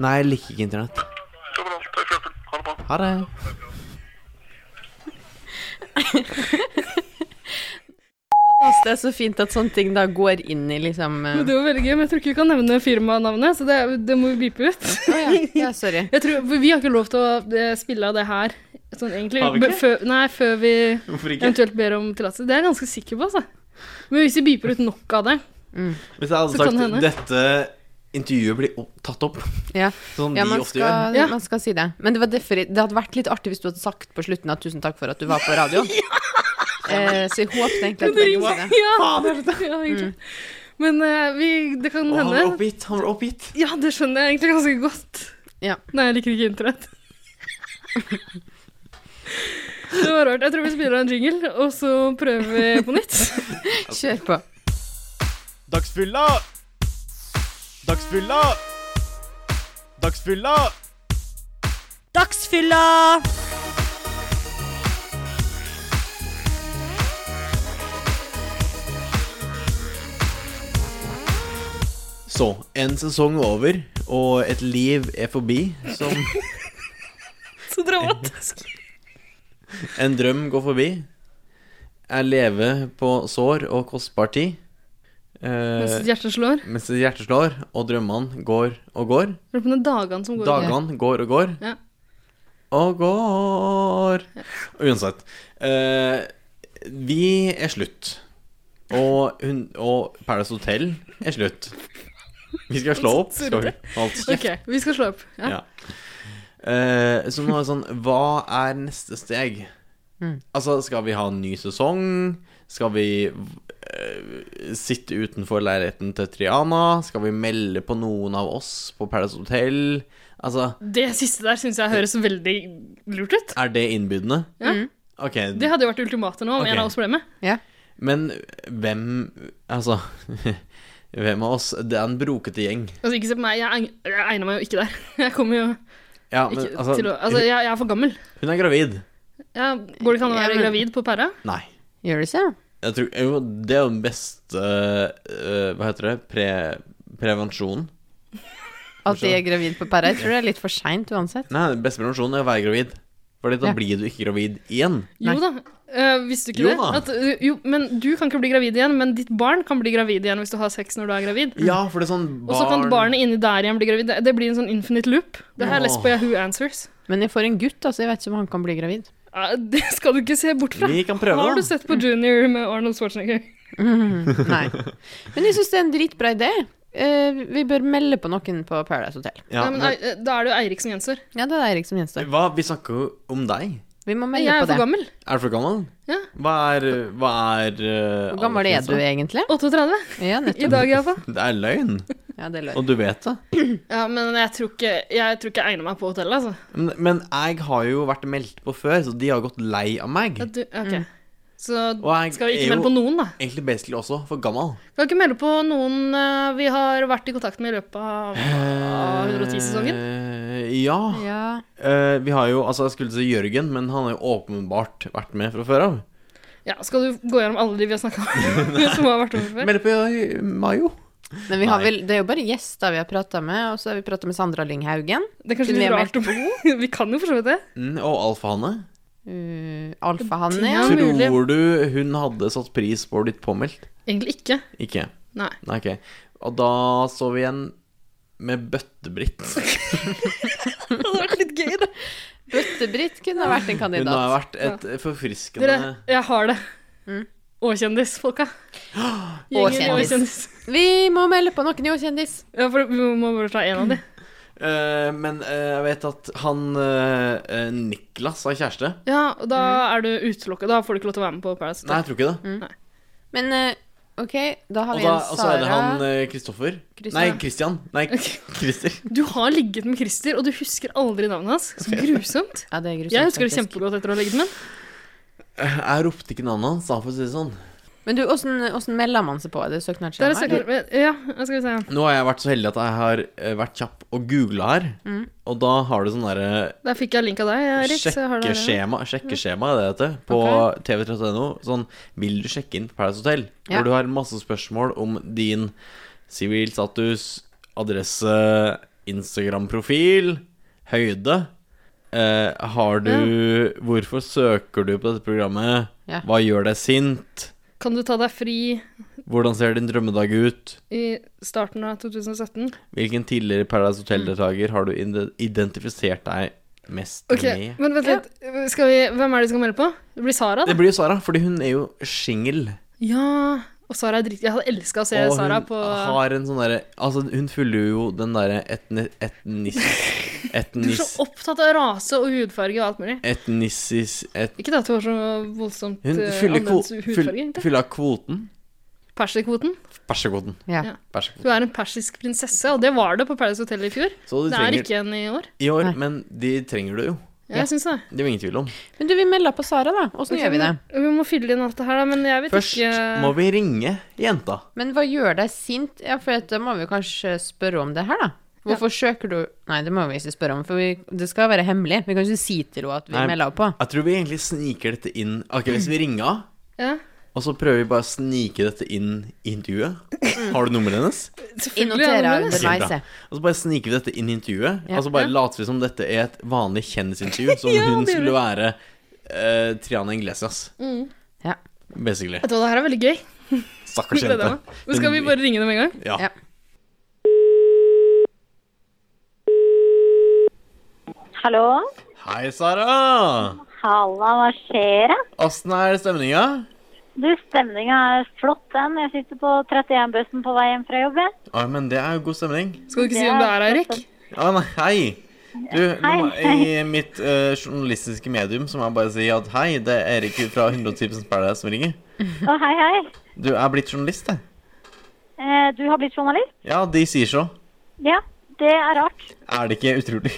Nei, jeg liker ikke internett. Det var alt. Takk for hjelpen. Ha det bra. Ha det. Altså, det er så fint at sånne ting da går inn i liksom Men det var veldig gøy, men jeg tror ikke vi kan nevne firmanavnet, så det, det må vi bipe ut. ja. ja, sorry. Jeg tror, for vi har ikke lov til å eh, spille av det her Sånn egentlig Har vi ikke? be- før, Nei, før vi Hvorfor ikke? eventuelt ber om tillatelse. Det er jeg ganske sikker på, altså. Men hvis vi beeper ut nok av det Hvis jeg hadde Så kan det sagt hende. dette intervjuet blir opp, tatt opp, Ja. som Ja, vi man ofte gjør skal, Ja. man skal si det. Men det, var derfor, det hadde vært litt artig hvis du hadde sagt på slutten at 'tusen takk for at du var på radioen'. eh, så jeg håpet egentlig at begge sa det. Ja, ja Mm. egentlig. Men eh, vi, det kan Å, han ble hende. oppgitt! Han ble oppgitt! Ja, det skjønner jeg egentlig ganske godt. Ja. Nei, jeg liker ikke internett. Det var rart. Jeg tror vi spiller av en jingle, og så prøver vi på nytt. Kjør på. Dagsfylla! Dagsfylla! Dagsfylla! Dagsfylla! Så, en sesong er over, og et liv er forbi, som Så dramatisk. en drøm går forbi. Jeg lever på sår og kostbar tid. Mens Eh, hjertet slår. mens hjertet slår, og drømmene går og går. Lurer på om det er dagene som går. Dagene går og går. Ja. Og går. Uansett. eh, vi er slutt. Og, hun, og Paradise Hotel er slutt. Vi skal slå opp. Skal vi? Hold kjeft. Ok, vi skal slå opp. Ja. Ja. Eh, så nå er det sånn Hva er neste steg? Mm. Altså, skal vi ha en ny sesong? Skal vi eh, sitte utenfor leiligheten til Triana? Skal vi melde på noen av oss på Paradise Hotel? Altså, Det siste der syns jeg høres veldig lurt ut. er det innbydende? Ja. Ok, Det hadde jo vært ultimatet nå om Ok. en av oss ble med. Ja. Men hvem Altså Hvem av oss? Det er en brokete gjeng. Altså, ikke se på meg, jeg, egn- jeg egner meg jo ikke der. Jeg kommer jo ikke Ja, men altså, til å Altså, jeg, jeg er for gammel. Hun er gravid. Ja, går det ikke an å Ja, være men- gravid på pæra? Nei. Gjør det seg, ja. Jeg tror, jo, det er jo den beste øh, Hva heter det? Pre, prevensjonen. At de er gravid på pæra. Jeg tror det er litt for seint uansett. Nei, den beste prevensjonen er å være gravid. Fordi da Ja. blir du ikke gravid igjen. Jo da. Eh, visste du ikke Jo det? da. At, eh, jo, men du kan ikke bli gravid igjen, men ditt barn kan bli gravid igjen hvis du har sex når du er gravid. Ja, for det er sånn barn Mm. Og så kan barnet inni der igjen bli gravid. Det- Det blir en sånn infinite loop. Det har jeg lest på Åh. Yahoo Answers. Men jeg får en gutt, altså. Jeg vet ikke om han kan bli gravid. Ja, det skal du ikke se bort fra. Vi kan prøve, Har da. du sett på Junior med Arnold Schwarzenegger? Nei. Men jeg syns det er en dritbra idé. Eh, vi bør melde på noen på Paradise Hotel. Ja, Nei, men, men, eh, da er det jo Eirik som gjenstår. Ja, det er Eirik som gjenstår. hva, vi snakker jo om deg. Vi må Jeg melde er på for det. gammel. Er du for gammel? Ja. Hva er, hva er øh, Hvor gammel er du aldersgrensa? egentlig? 38 Ja, i nettopp. dag iallfall. Det er løgn. Ja, det løy. Og du vet det. Ja, men jeg tror ikke jeg, tror ikke jeg egner meg på hotellet, altså. Men, men jeg har jo vært meldt på før, så de har gått lei av meg. Ja, du, ok. Og Så jeg skal vi er ikke jo- melde på noen, da. Egentlig basically også for gammel. Kan ikke melde på noen eh, vi har vært i kontakt med i løpet av av 110-sesongen. Eh, ja. Ja. Eh, vi har jo Altså, jeg skulle si Jørgen, men han har jo åpenbart vært med fra før av. Ja, skal du gå gjennom alle de vi har snakka om som har vært over før? Meld på i Mayo. Men vi har Nei. vel, det er jo bare gjester vi har prata med, og så har vi prata med Sandra Lyng Haugen. Det er kanskje Kunne litt jeg rart å Vi kan jo for så vidt det. Mm, og Alfahanne. Uh, Alfa Hanne, Ja, ja. men- mulig. Tror du hun hadde satt pris på å blitt påmeldt? Egentlig ikke. Ikke? Nei. Nei, ok. Og da så vi en med Bøtte-Britt. Det hadde vært litt gøy, da. Bøtte-Britt kunne ha vært en Hun har kandidat. vært et forfriskende Dere, jeg har det. Mm. Å-kjendisfolka. Gjengen i Å-kjendis. Å-kjendis. Vi må melde på noen jo, kjendis. Ja, for vi må bare ta én av de. Eh, Men eh, jeg vet at han eh, eh, Niklas har kjæreste. Ja, og da Mm. er du utelukket. Da får du ikke lov til å være med på Paradise Nei, Hotel. jeg tror ikke det. Men eh, OK, da har Og, vi da, en og så er det Sara. han eh, Kristoffer. Christian. Nei, Christian. Nei, Christer. Du har ligget med Christer, og du husker aldri navnet hans. Så grusomt. Ja, det er grusomt, Jeg husker det faktisk. kjempegodt etter å ha ligget med ham. Eh, Jeg ropte ikke navnet hans, da, for å si det sånn. Men du, åssen åssen melder man seg på? Er det Det er søknadsskjema? eller? sikkert, ja, hva skal vi se. Nå har jeg vært så heldig at jeg har eh, vært kjapp og googla her. Mm. Og da har du sånn derre Der fikk jeg link av deg, Erik. så jeg har det her. sjekkeskjema, sjekkeskjema er det det heter, på tv3.no. Sånn 'Vil du sjekke inn på Paradise Hotel?' Ja. Hvor du har masse spørsmål om din sivil status, adresse, Instagram-profil, høyde. Eh, har du Hvorfor søker du på dette programmet? Ja. Hva gjør deg sint? Kan du ta deg fri Hvordan ser din drømmedag ut? i starten av 2017? Mm. Hvilken tidligere Paradise Hotel-deltaker har du ide- identifisert deg mest Ok, med. men vent litt. Skal vi, hvem er det som skal melde på? Det blir Sara, Det da. blir jo Sara, fordi hun er jo singel. Ja. Og Sara er dritt... Jeg hadde elska å se Og Sara hun på har en sånn derre Altså, hun følger jo den derre etni, etnis, Du er etnis, så opptatt av rase og hudfarge og alt mulig. etnisis et, Ikke det at hun har så voldsomt Hun eh, fyller, kvo, annerledes hudfarge, fyll, egentlig. fyller kvoten. Perserkvoten. Persekvoten. Ja. Ja. Persekvoten. Hun er en persisk prinsesse, og det var det på Paradise Hotel i fjor. Så de Det er trenger ikke en i år. I år, Nei. men de trenger det jo. Ja, jeg synes det. Det er jo ingen tvil om. Men du, vi melder på Sara, da. Åssen gjør vi det? Vi må fylle inn alt det her, da, men jeg vet Først ikke må vi ringe jenta. Men hva gjør deg sint? Ja, for at da må vi kanskje spørre om det her, da. Hvorfor søker du Nei, det må vi ikke spørre om, for vi, det skal være hemmelig. Vi kan ikke si til henne at vi Nei. melder på. Jeg tror vi egentlig sniker dette inn Ok, hvis vi ringer henne, ja. og så prøver vi bare å snike dette inn i intervjuet Har du nummeret hennes? Selvfølgelig er det Innotere annerledes. Kjempebra. underveis. jeg. Og så bare sniker vi dette inn i intervjuet. Ja. Og så bare later vi som dette er et vanlig kjendisintervju, som Ja, hun det gjør skulle være eh, Triana Iglesias. Ja. Basically. Vet du hva, det her er veldig gøy. Stakkars Gleder jente. jeg meg. Men skal vi bare ringe dem en gang? Ja. Ja. Hallo? Hei, Sara! Halla, hva skjer? da? Åssen er stemninga? Du, stemninga er flott, den. Jeg sitter på 31-bussen på vei hjem fra jobb. jeg. Ja, men det er jo god stemning. Skal du ikke si om det er Eirik? Ja, nei, hei! Du, nå må, Hei. i mitt eh, journalistiske medium så må jeg bare si at hei, det er Erik fra 110 Paradise som ringer. Å, hei, hei. Du jeg er blitt journalist, jeg. Eh, du har blitt journalist? Ja, de sier så. Ja, det er rart. Er det ikke utrolig?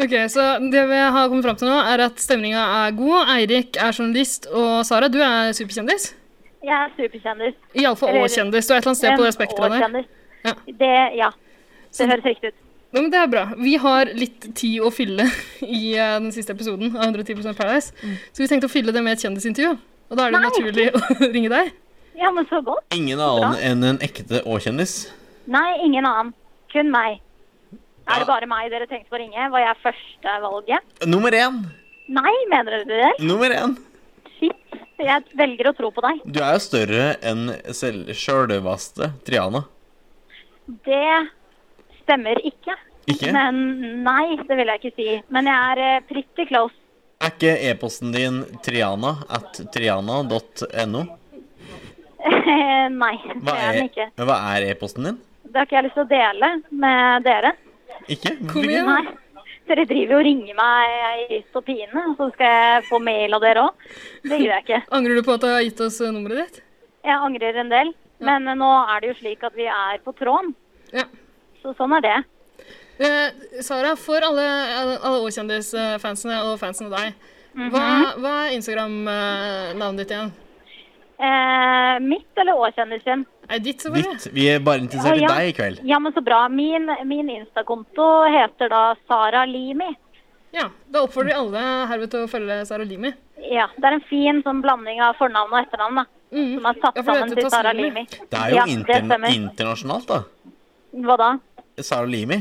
Ok, så det vi har kommet fram til nå, er at stemninga er god. Eirik er journalist, og Sara, du er superkjendis. Jeg er superkjendis. Iallfall Eller- Å-kjendis. Du er et eller annet sted på det spekteret der. Årskjendis. Ja. Det, ja. Så- Det høres riktig ut. Ja, men det er bra. Vi har litt tid å fylle i eh, den siste episoden av 110 Paradise, så vi tenkte å fylle det med et kjendisintervju. Og da er det jo Nei. naturlig å ringe deg. Ja, men så godt. Ingen annen enn en ekte Å-kjendis. Nei, ingen annen. Kun meg. Er det bare meg dere tenkte på å ringe? Var jeg førstevalget? Nummer én. Nei, mener dere det? Nummer én. Shit. Jeg velger å tro på deg. Du er jo større enn selv- sjølvaste Triana. Det stemmer ikke. Ikke? Men nei, det vil jeg ikke si. Men jeg er eh, pretty close. Er ikke e-posten din triana at triana.no? nei, det Hva er den ikke. er- hva er e-posten din? Det har ikke jeg lyst til å dele med dere. Ikke? Kom igjen. Nei. Dere driver jo og ringer meg i ist og pine, så skal jeg få mail av dere òg. Det gidder jeg ikke. Angrer du på at du har gitt oss eh, nummeret ditt? Jeg angrer en del. Men eh, nå er det jo slik at vi er på tråden, Ja. så sånn er det. Eh, Sara, for alle, alle Å-kjendis-fansene og fansen av deg, hva, hva er Instagram-navnet ditt igjen? Eh, mitt eller Å-kjendis sin? Er det ditt, selvfølgelig? Ditt. Vi er bare interessert i Ja, ja. deg i kveld. Ja, men så bra. Min, min Insta-konto heter da Sara Limi. Ja. Da oppfordrer vi alle herved til å følge Sara Limi. Ja, det er en fin sånn blanding av fornavn og etternavn, da. Som er satt Ja, for det sammen heter til Sara Tasmini. Limi. Det er jo ja, det intern stemmer. internasjonalt, da. Hva da? Sara Limi.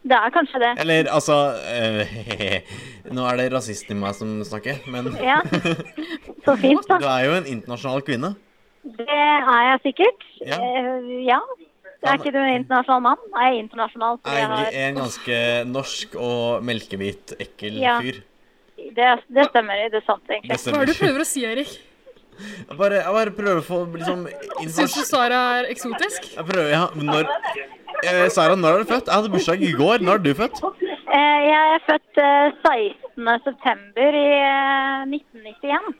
Det er kanskje det. Eller altså eh, Nå er det rasisten i meg som snakker, men Ja. Så fint, du da. er jo en internasjonal kvinne. Det er jeg sikkert. Ja. Eh, ja. Er ikke du en internasjonal mann? Er jeg internasjonal? så Jeg jeg er har- en ganske norsk og melkehvit, ekkel Ja. fyr. Det, det stemmer. Det er sant, Det egentlig. Hva er stemmer. det du prøver å si, Erik? Jeg bare, jeg bare prøver å få liksom Syns du informasjon Sara er eksotisk? Jeg prøver, ja. men Når eh, Sara, når er du født? Jeg hadde bursdag i går. Når er du født? Eh, jeg er født eh, 16. september i eh, 1991.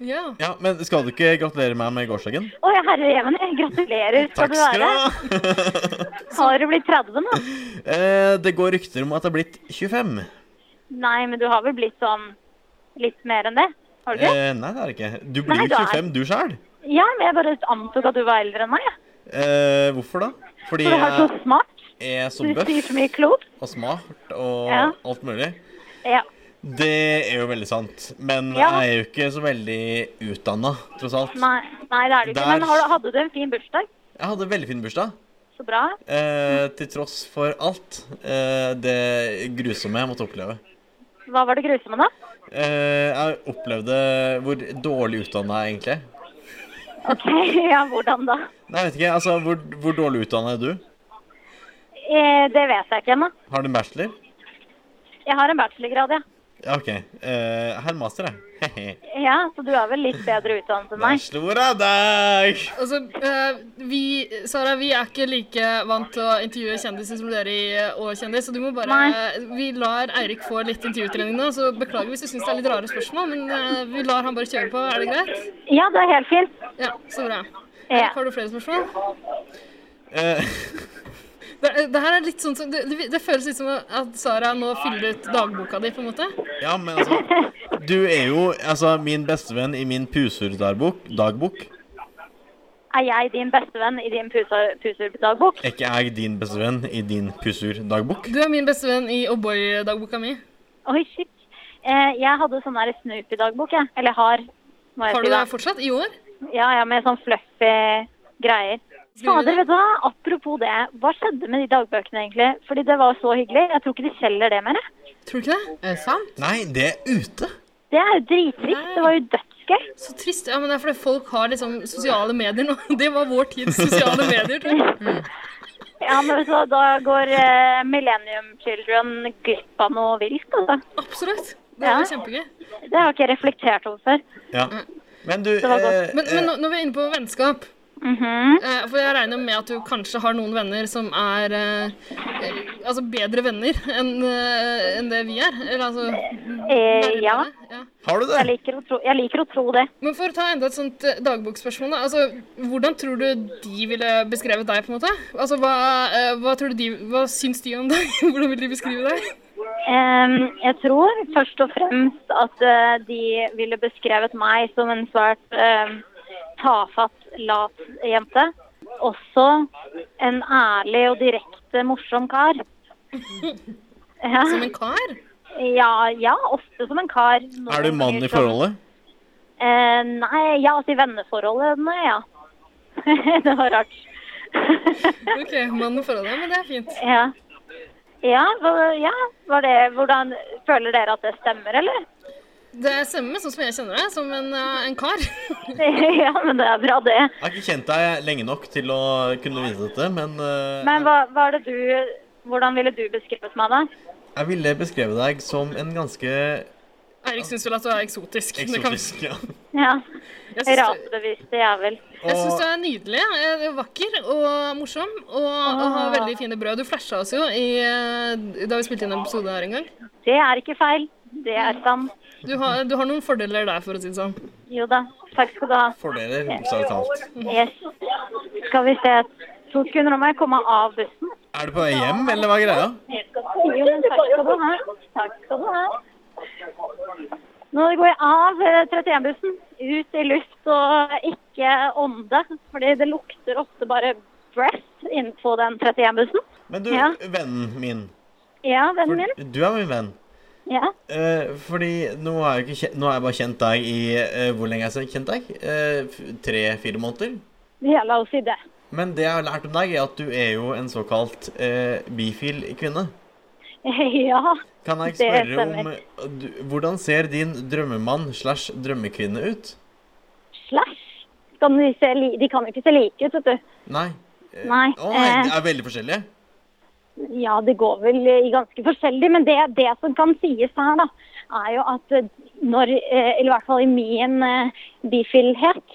Ja. Ja, men skal du ikke gratulere meg med gårsdagen? Å ja, herre jevne. Gratulerer skal Takk du skal du være. ha! Har du blitt 30 nå? Eh, det går rykter om at jeg er blitt 25. Nei, men du har vel blitt sånn litt mer enn det? Har du ikke? Eh, nei, det er det ikke. Du blir Nei, jo da er- 25, du sjæl. Ja, men jeg bare antok at du var eldre enn meg. jeg. Eh, hvorfor da? Fordi For du er så jeg smart. er så Du sier bøff så mye klokt. og smart og Ja. alt mulig. Ja. Det er jo veldig sant. Men Ja. jeg er jo ikke så veldig utdanna, tross alt. Nei, nei, det er du ikke. Der- Men har du, hadde du en fin bursdag? Jeg hadde en veldig fin bursdag. Så bra. Eh, til tross for alt eh, det grusomme jeg måtte oppleve. Hva var det grusomme, da? Eh, jeg opplevde hvor dårlig utdanna jeg egentlig er. OK, ja, hvordan da? Nei, jeg vet ikke. Altså, hvor, hvor dårlig utdanna er du? Eh, det vet jeg ikke ennå. Har du en bachelor? Jeg har en bachelorgrad, ja. OK. Eh, jeg har en master, jeg. Ja, Så du er vel litt bedre utdannet enn meg? Slår av deg! Altså, eh, vi, Sara, vi er ikke like vant til å intervjue kjendiser som dere i eh, Å kjendis, så du må bare Nei. Vi lar Eirik få litt intervjutrening nå, så beklager hvis du syns det er litt rare spørsmål, men eh, vi lar han bare kjøre på. Er det greit? Ja, det er helt fint. Eh, Ja, så bra. Ja. Har du flere spørsmål? Eh, Det, det her er litt sånn som, det, det- det føles litt som at Sara nå fyller ut dagboka di, på en måte. Ja, men altså Du er jo altså min bestevenn i min pusur-dagbok. Dagbok. Er jeg din bestevenn i din pusa- pusur-dagbok? Er ikke jeg din bestevenn i din pusur-dagbok? Du er min beste venn i O'boy-dagboka mi. Oi, shit. Eh, jeg hadde sånn der Snoopy-dagbok, jeg. Eller har. Må jeg Har du si da. det fortsatt? I år? Ja, ja, med sånn fluffy greier. Fader, vet du hva? Apropos det, hva skjedde med de dagbøkene egentlig? Fordi det var så hyggelig. Jeg tror ikke de selger det mer. jeg. Tror du ikke det? Er det sant? Nei, det er ute. Det er jo drittrist. Det var jo dødsgøy. Så trist. Ja, men det er fordi folk har liksom sosiale medier nå. Det var vår tids sosiale medier, tror jeg. Ja, men vet du hva, da går eh, Millennium Children glipp av noe vilt, altså. Absolutt. Det var Ja. kjempegøy. Det har jeg ikke reflektert over før. Ja. Men du Mm. var godt. eh, Men, men nå- når vi er inne på vennskap Mhm. eh, For jeg regner med at du kanskje har noen venner som er eh, eh, altså bedre venner enn eh, enn det vi er. Eller altså Eh, ja, nærmere, ja. Har du jeg det? liker, å tro, jeg liker å tro det. Men for å ta enda et sånt eh, dagbokspørsmål, da. Altså, hvordan tror du de ville beskrevet deg, på en måte? Altså, hva, eh, hva, tror du de, hva syns de om deg? Hvordan vil de beskrive deg? Em, jeg tror først og fremst at eh, de ville beskrevet meg som en svært em, tafatt, lat jente. Også en ærlig og direkte morsom kar. Ja, Som en kar? ja, ja ofte som en kar. Noen Er du mann ganger i som- forholdet? Eh, nei, ja, altså i venneforholdene, ja. det var rart. OK, mannen foran deg, men det er fint. ja. Ja, hva- ja, var det Hvordan Føler dere at det stemmer, eller? Det stemmer, sånn som jeg kjenner deg, som en, eh, en kar. ja, men det er bra, det. Jeg har ikke kjent deg lenge nok til å kunne vise dette, men, eh, Men hva, hva er det du Hvordan ville du beskrevet meg, da? jeg ville beskrevet deg som en ganske Eirik syns vel at du er eksotisk. Det kan- eksotisk ja. Ja. Jeg syns du- Rasebevisst jævel. jeg syns Og du er nydelig. eh, Vakker og morsom. Og, og Ah. har veldig fine brød. Du flasha oss jo i, eh, da vi spilte inn en episode her en gang. Det er ikke feil. Det er sant. Du har, du har noen fordeler der, for å si det sånn. Jo da. Takk skal du ha. fordeler, bokstavelig talt. Yes. Skal vi se. To sekunder, nå må jeg komme av bussen. Er du på vei hjem, eller hva er greia? Jo, men takk skal du ha. Takk skal du ha. Nå går jeg av eh, 31-bussen, ut i luft og ikke ånde, fordi det lukter ofte bare breath innpå den 31-bussen. Men du, Ja. vennen min. Ja, vennen min. For, du er min venn. Ja. Eh, fordi nå har, jeg ikke kjent, nå har jeg bare kjent deg i eh, Hvor lenge har jeg kjent deg? Eh, Tre-fire måneder? Ja, la oss si det. Men det jeg har lært om deg, er at du er jo en såkalt eh, bifil kvinne. Ja. Kan jeg Det spørre om stemmer. eh, du, Hvordan ser din drømmemann slash drømmekvinne ut? Slash. Kan de, se li de kan jo ikke se like ut, vet du. Nei. Eh, Nei, Å nei, eh. de er veldig forskjellige. Ja, det går vel eh, i ganske forskjellig, men det, det som kan sies her, da, er jo at eh, når, eh, eller i hvert fall i min eh, bifilhet,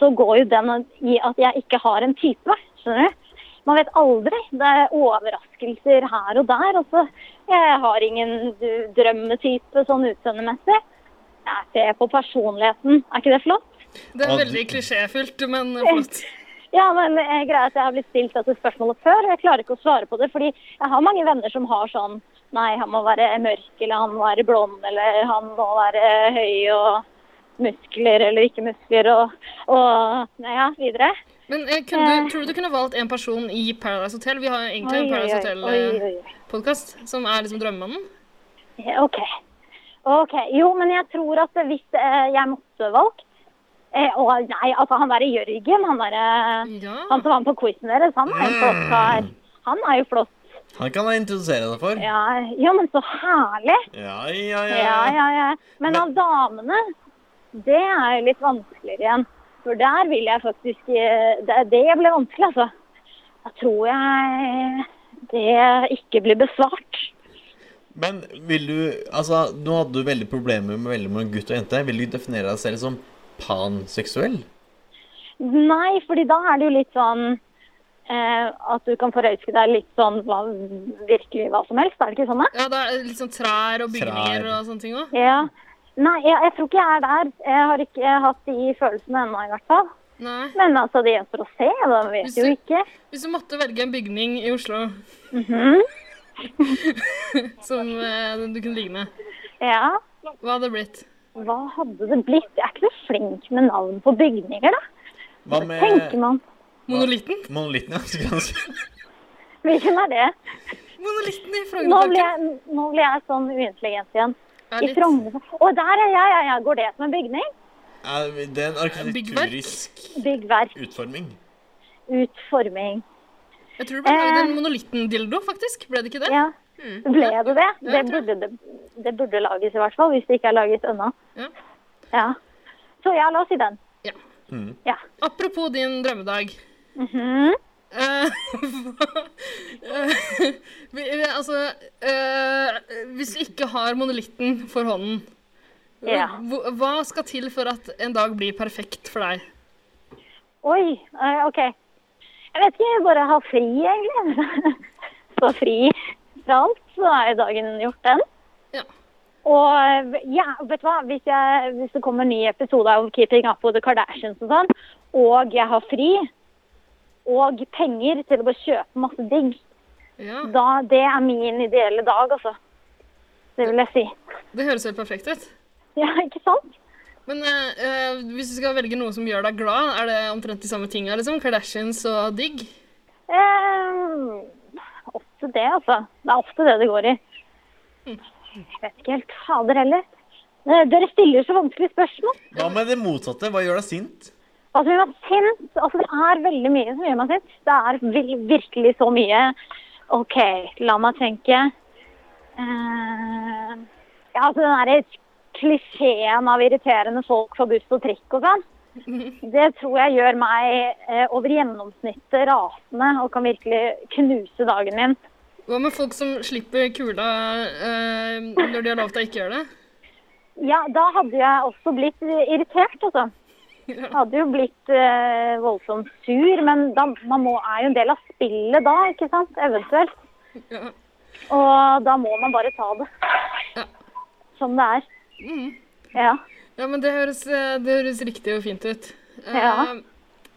så går jo den i at jeg ikke har en type, skjønner du? Man vet aldri. Det er overraskelser her og der. Altså, jeg har ingen d- drømmetype sånn utseendemessig. Jeg ser på personligheten. Er ikke det flott? Ah, Det er Og veldig du- klisjéfylt, men flott. Ja, men eh, greia er at jeg har blitt stilt dette spørsmålet før, og jeg klarer ikke å svare på det. Fordi jeg har mange venner som har sånn Nei, han må være mørk, eller han må være blond, eller han må være eh, høy og muskler eller ikke muskler og, og ja, videre. Men eh, kunne du, tror du du kunne valgt en person i Paradise Hotel? Vi har jo egentlig en Paradise oi, oi. Hotel-podkast som er liksom drømmemannen. Ja, OK. Ok, Jo, men jeg tror at hvis eh, jeg måtte valgt eh, Å nei, altså han derre Jørgen, han derre Ja. Han som var med på quizen deres, han er jo flott kar. Han er jo flott. Han kan jeg introdusere deg for. Ja, ja, men så herlig. Ja, ja, ja. Ja, ja, ja. Men av damene, det er jo litt vanskeligere igjen. For der vil jeg faktisk eh, Det, det ble vanskelig, altså. Da tror jeg det ikke blir besvart. Men vil du Altså, nå hadde du veldig problemer med veldig mange gutt og jente. Vil du definere deg selv som panseksuell? Nei, fordi da er det jo litt sånn eh, at du kan forelske deg litt sånn hva, virkelig hva som helst. Er det ikke sånn, da? Ja, det er litt sånn trær og bygninger Trær. og sånne ting òg. Ja. Nei, jeg, jeg tror ikke jeg er der. Jeg har ikke hatt de følelsene ennå, i hvert fall. Nei. Men altså, det gjenstår å se. Da Hvis vet du- jo ikke. Hvis du måtte velge en bygning i Oslo Mhm. som eh, du kunne ligge med, Ja. hva hadde det blitt? Hva hadde det blitt? Jeg er ikke så flink med navn på bygninger, da. Hva Tenker med man. Monolitten? monolitten? ja, skulle jeg si. Hvilken er det? Monolitten i Nå blir Frognerparken. jeg, nå blir jeg sånn uintelligent igjen. Er I litt- Frogner Å, der er jeg! Ja, ja. Går det som en bygning? Ja, Det er en arkitekturisk Byggverk. utforming. Utforming. Jeg tror det ble lagd en Eh. monolitten-dildo, faktisk. Ble det ikke det? Ja. Ble det det? Det Hmm. jeg tror burde, det- det burde lages, i hvert fall. Hvis det ikke er laget ennå. Ja. Ja. Så ja, la oss si den. Ja. Hmm. Ja. Apropos din drømmedag. Mhm. Eh, hva- eh, vi- vi- altså eh, Hvis du ikke har monolitten for hånden, Ja. hva, hva skal til for at en dag blir perfekt for deg? Oi. eh, OK. Jeg vet ikke. jeg Bare ha fri, egentlig. Så fri fra alt, så er jo dagen gjort, den. Ja. Og eh, ja, vet du hva? Hvis, jeg, hvis det kommer en ny episode av Keeping Up with the Kardashians og sånn, og jeg har fri og penger til å bare kjøpe masse digg, ja. da det er min ideelle dag, altså. Det vil jeg si. Det høres helt perfekt ut. Ja, ikke sant? Men eh, eh, hvis du skal velge noe som gjør deg glad, er det omtrent de samme tinga? Liksom? Kardashians og digg? Eh, ofte det, altså. Det er ofte det det går i. Jeg vet ikke helt. Fader heller. Eh, Dere stiller så vanskelige spørsmål. Hva med det motsatte? Hva gjør deg sint? Hva som gjør meg sint? Altså, det er veldig mye som gjør meg sint. Det er vil, virkelig så mye. OK, la meg tenke. Eh, ja, altså den derre klisjeen av irriterende folk på buss og trikk og sånn. Det tror jeg gjør meg eh, over gjennomsnittet rasende og kan virkelig knuse dagen min. Hva med folk som slipper kula eh, når de har lov til å ikke gjøre det? Ja, da hadde jeg også blitt irritert, altså. Jeg hadde jo blitt eh, voldsomt sur, men da, man må, er jo en del av spillet da, ikke sant? Eventuelt. Ja. Og da må man bare ta det. Ja. Mm. Som det er. Ja. Ja, men det høres, eh, det høres riktig og fint ut. Eh, Ja.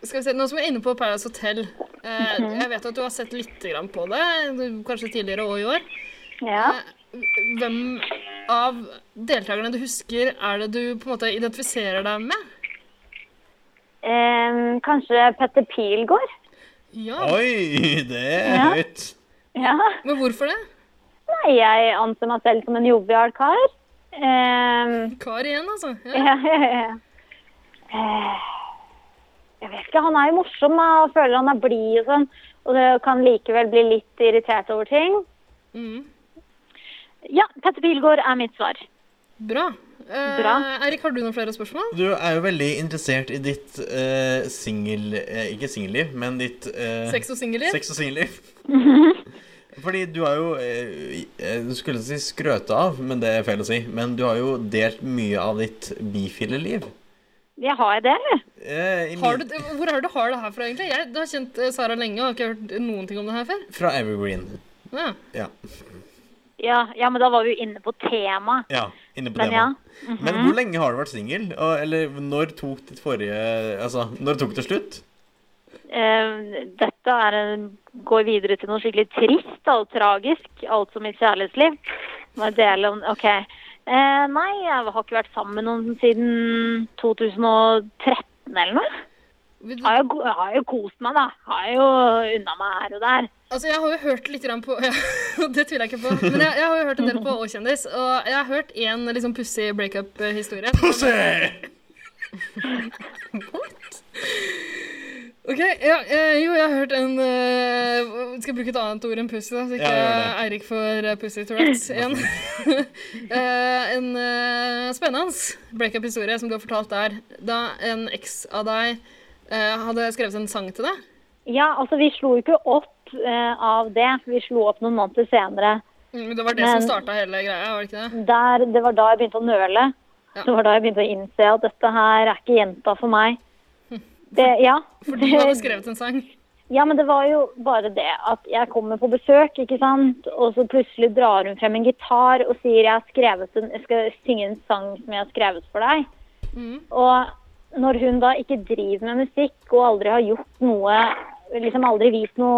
Skal vi se, Nå som vi er inne på Paradise Hotel eh, Jeg vet at du har sett litt grann på det, du- kanskje tidligere og i år. ja. Eh, Hvem av deltakerne du husker, er det du på en måte identifiserer deg med? Em, kanskje Petter Pilgaard? Ja, Oi, det er Ja. høyt. Ja. Men hvorfor det? Nei, jeg anser meg selv som en jovial kar. Em, Kar igjen, altså. Ja. ja, ja, ja. Eh, jeg vet ikke, han er jo morsom da, og føler han er blid og sånn. Og det kan likevel bli litt irritert over ting. Mhm. Ja, Petter Pilgaard er mitt svar. Bra. Eh, Bra. Eirik, har du noen flere spørsmål? Du er jo veldig interessert i ditt eh, singel... Eh, ikke singelliv, men ditt eh, Sex og singelliv? sex og singelliv. Fordi du har jo eh, eh, Du skulle si skrøte av, men det er feil å si. Men du har jo delt mye av ditt bifile liv. Jeg har det, eller? Eh, i Har du, min- hvor er det du har det her fra, egentlig? Jeg du har kjent eh, Sara lenge og har ikke hørt noen ting om det her før. Fra Evergreen. Ja. Ja. Ja, ja, men da var vi jo inne på temaet. ja inne på Men temaet. ja. Mhm. Men hvor lenge har du vært singel? Og- Eller når tok ditt forrige Altså, når tok det slutt? Eh, dette er en, går videre til noe skikkelig trist og tragisk, altså mitt kjærlighetsliv. Må jeg dele om OK. Eh, nei, jeg har ikke vært sammen med noen siden 2013 eller noe. Vil du- Har jo, jeg har jo kost meg, da. Har jo unna meg her og der. Altså, jeg har jo hørt litt grann på Det tviler jeg ikke på. Men jeg, jeg har jo hørt en del på Å-kjendis, og jeg har hørt én liksom, pussig breakup-historie. OK. Ja, eh, jo, jeg har hørt en eh, Skal jeg bruke et annet ord enn pussy, da, så ikke Ja, Eirik får eh, pussy tourettes igjen. Eh, en eh, spennende breakup-historie som du har fortalt der, da en eks av deg eh, hadde skrevet en sang til deg. Ja, altså vi slo jo ikke opp eh, av det. Vi slo opp noen måneder senere. Mm, Det var det Men- som starta hele greia, var det ikke det? der, det var da jeg begynte å nøle. Ja. Det var da jeg begynte å innse at dette her er ikke jenta for meg. Det, ja. Fordi Mm. du hadde skrevet en sang. ja, men det var jo bare det at jeg kommer på besøk, ikke sant. Og så plutselig drar hun frem en gitar og sier jeg, har skrevet en, jeg skal synge en sang som jeg har skrevet for deg. Mm. Og når hun da ikke driver med musikk og aldri har gjort noe, liksom aldri vist noe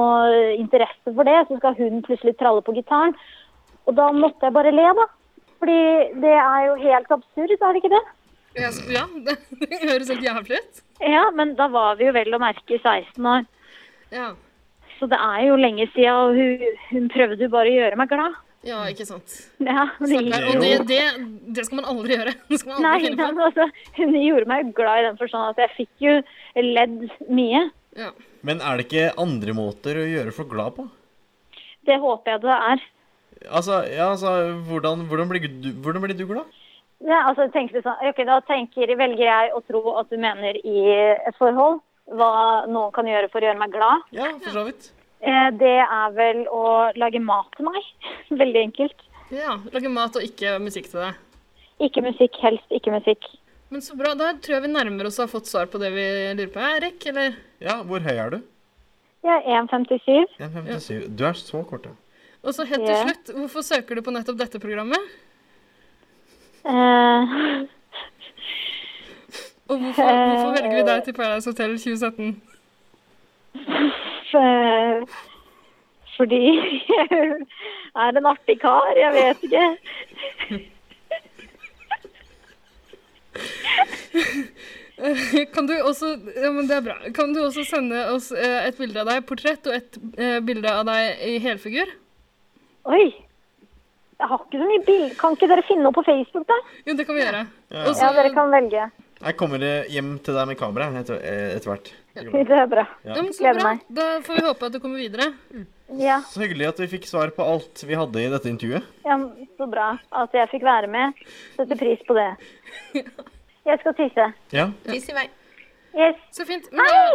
interesse for det, så skal hun plutselig tralle på gitaren. Og da måtte jeg bare le, da. Fordi det er jo helt absurd, er det ikke det? Jeg s- Ja, det, det høres helt jævlig ut. Ja, men da var vi jo vel å merke 16 år. Ja. Så det er jo lenge siden, og hun, hun prøvde jo bare å gjøre meg glad. ja, ikke sant. Ja, men det Nei, gikk Og jo. det, det, det skal man aldri gjøre. Det skal man Nei, aldri finne men på. altså, hun gjorde meg glad i den forstand at jeg fikk jo ledd mye. Ja. Men er det ikke andre måter å gjøre folk glad på? Det håper jeg det er. Altså, ja, altså hvordan, hvordan, blir, du, hvordan blir du glad? Ja, altså, jeg tenkte sånn, ok, da tenker, velger jeg å tro at du mener i et forhold hva noen kan gjøre for å gjøre meg glad. Ja, for så vidt. Eh, Det er vel å lage mat til meg. Veldig enkelt. ja. Lage mat og ikke musikk til deg. Ikke musikk, helst ikke musikk. Men så bra. Da tror jeg vi nærmer oss å ha fått svar på det vi lurer på. Erik, eller? Ja, hvor høy er du? Jeg er 1,57. 1,57. Du er så kort, ja. Og så helt til Ja. slutt, hvorfor søker du på nettopp dette programmet? Eh, Og hvorfor, hvorfor velger vi deg til Paradise Hotel 2017? f- Eh, fordi jeg er en artig kar. Jeg vet ikke. Kan du også, ja, men det er bra. Kan du også sende oss eh, et bilde av deg, portrett, og et eh, bilde av deg i helfigur? Oi. Jeg har ikke så mye bilder. Kan ikke dere finne noe på Facebook, da? Jo, det kan vi gjøre. Ja. Og så- Ja, dere kan velge. Jeg kommer eh, hjem til deg med kamera etter, eh, etter hvert. Det er bra. ja, men så Gleder bra. meg. Da får vi håpe at du kommer videre. Ja, Så hyggelig at vi fikk svar på alt vi hadde i dette intervjuet. ja, så bra at jeg fikk være med. Setter pris på det. Jeg skal tisse. Ja. Tiss i vei. Yes. Så fint. Men da- Hei!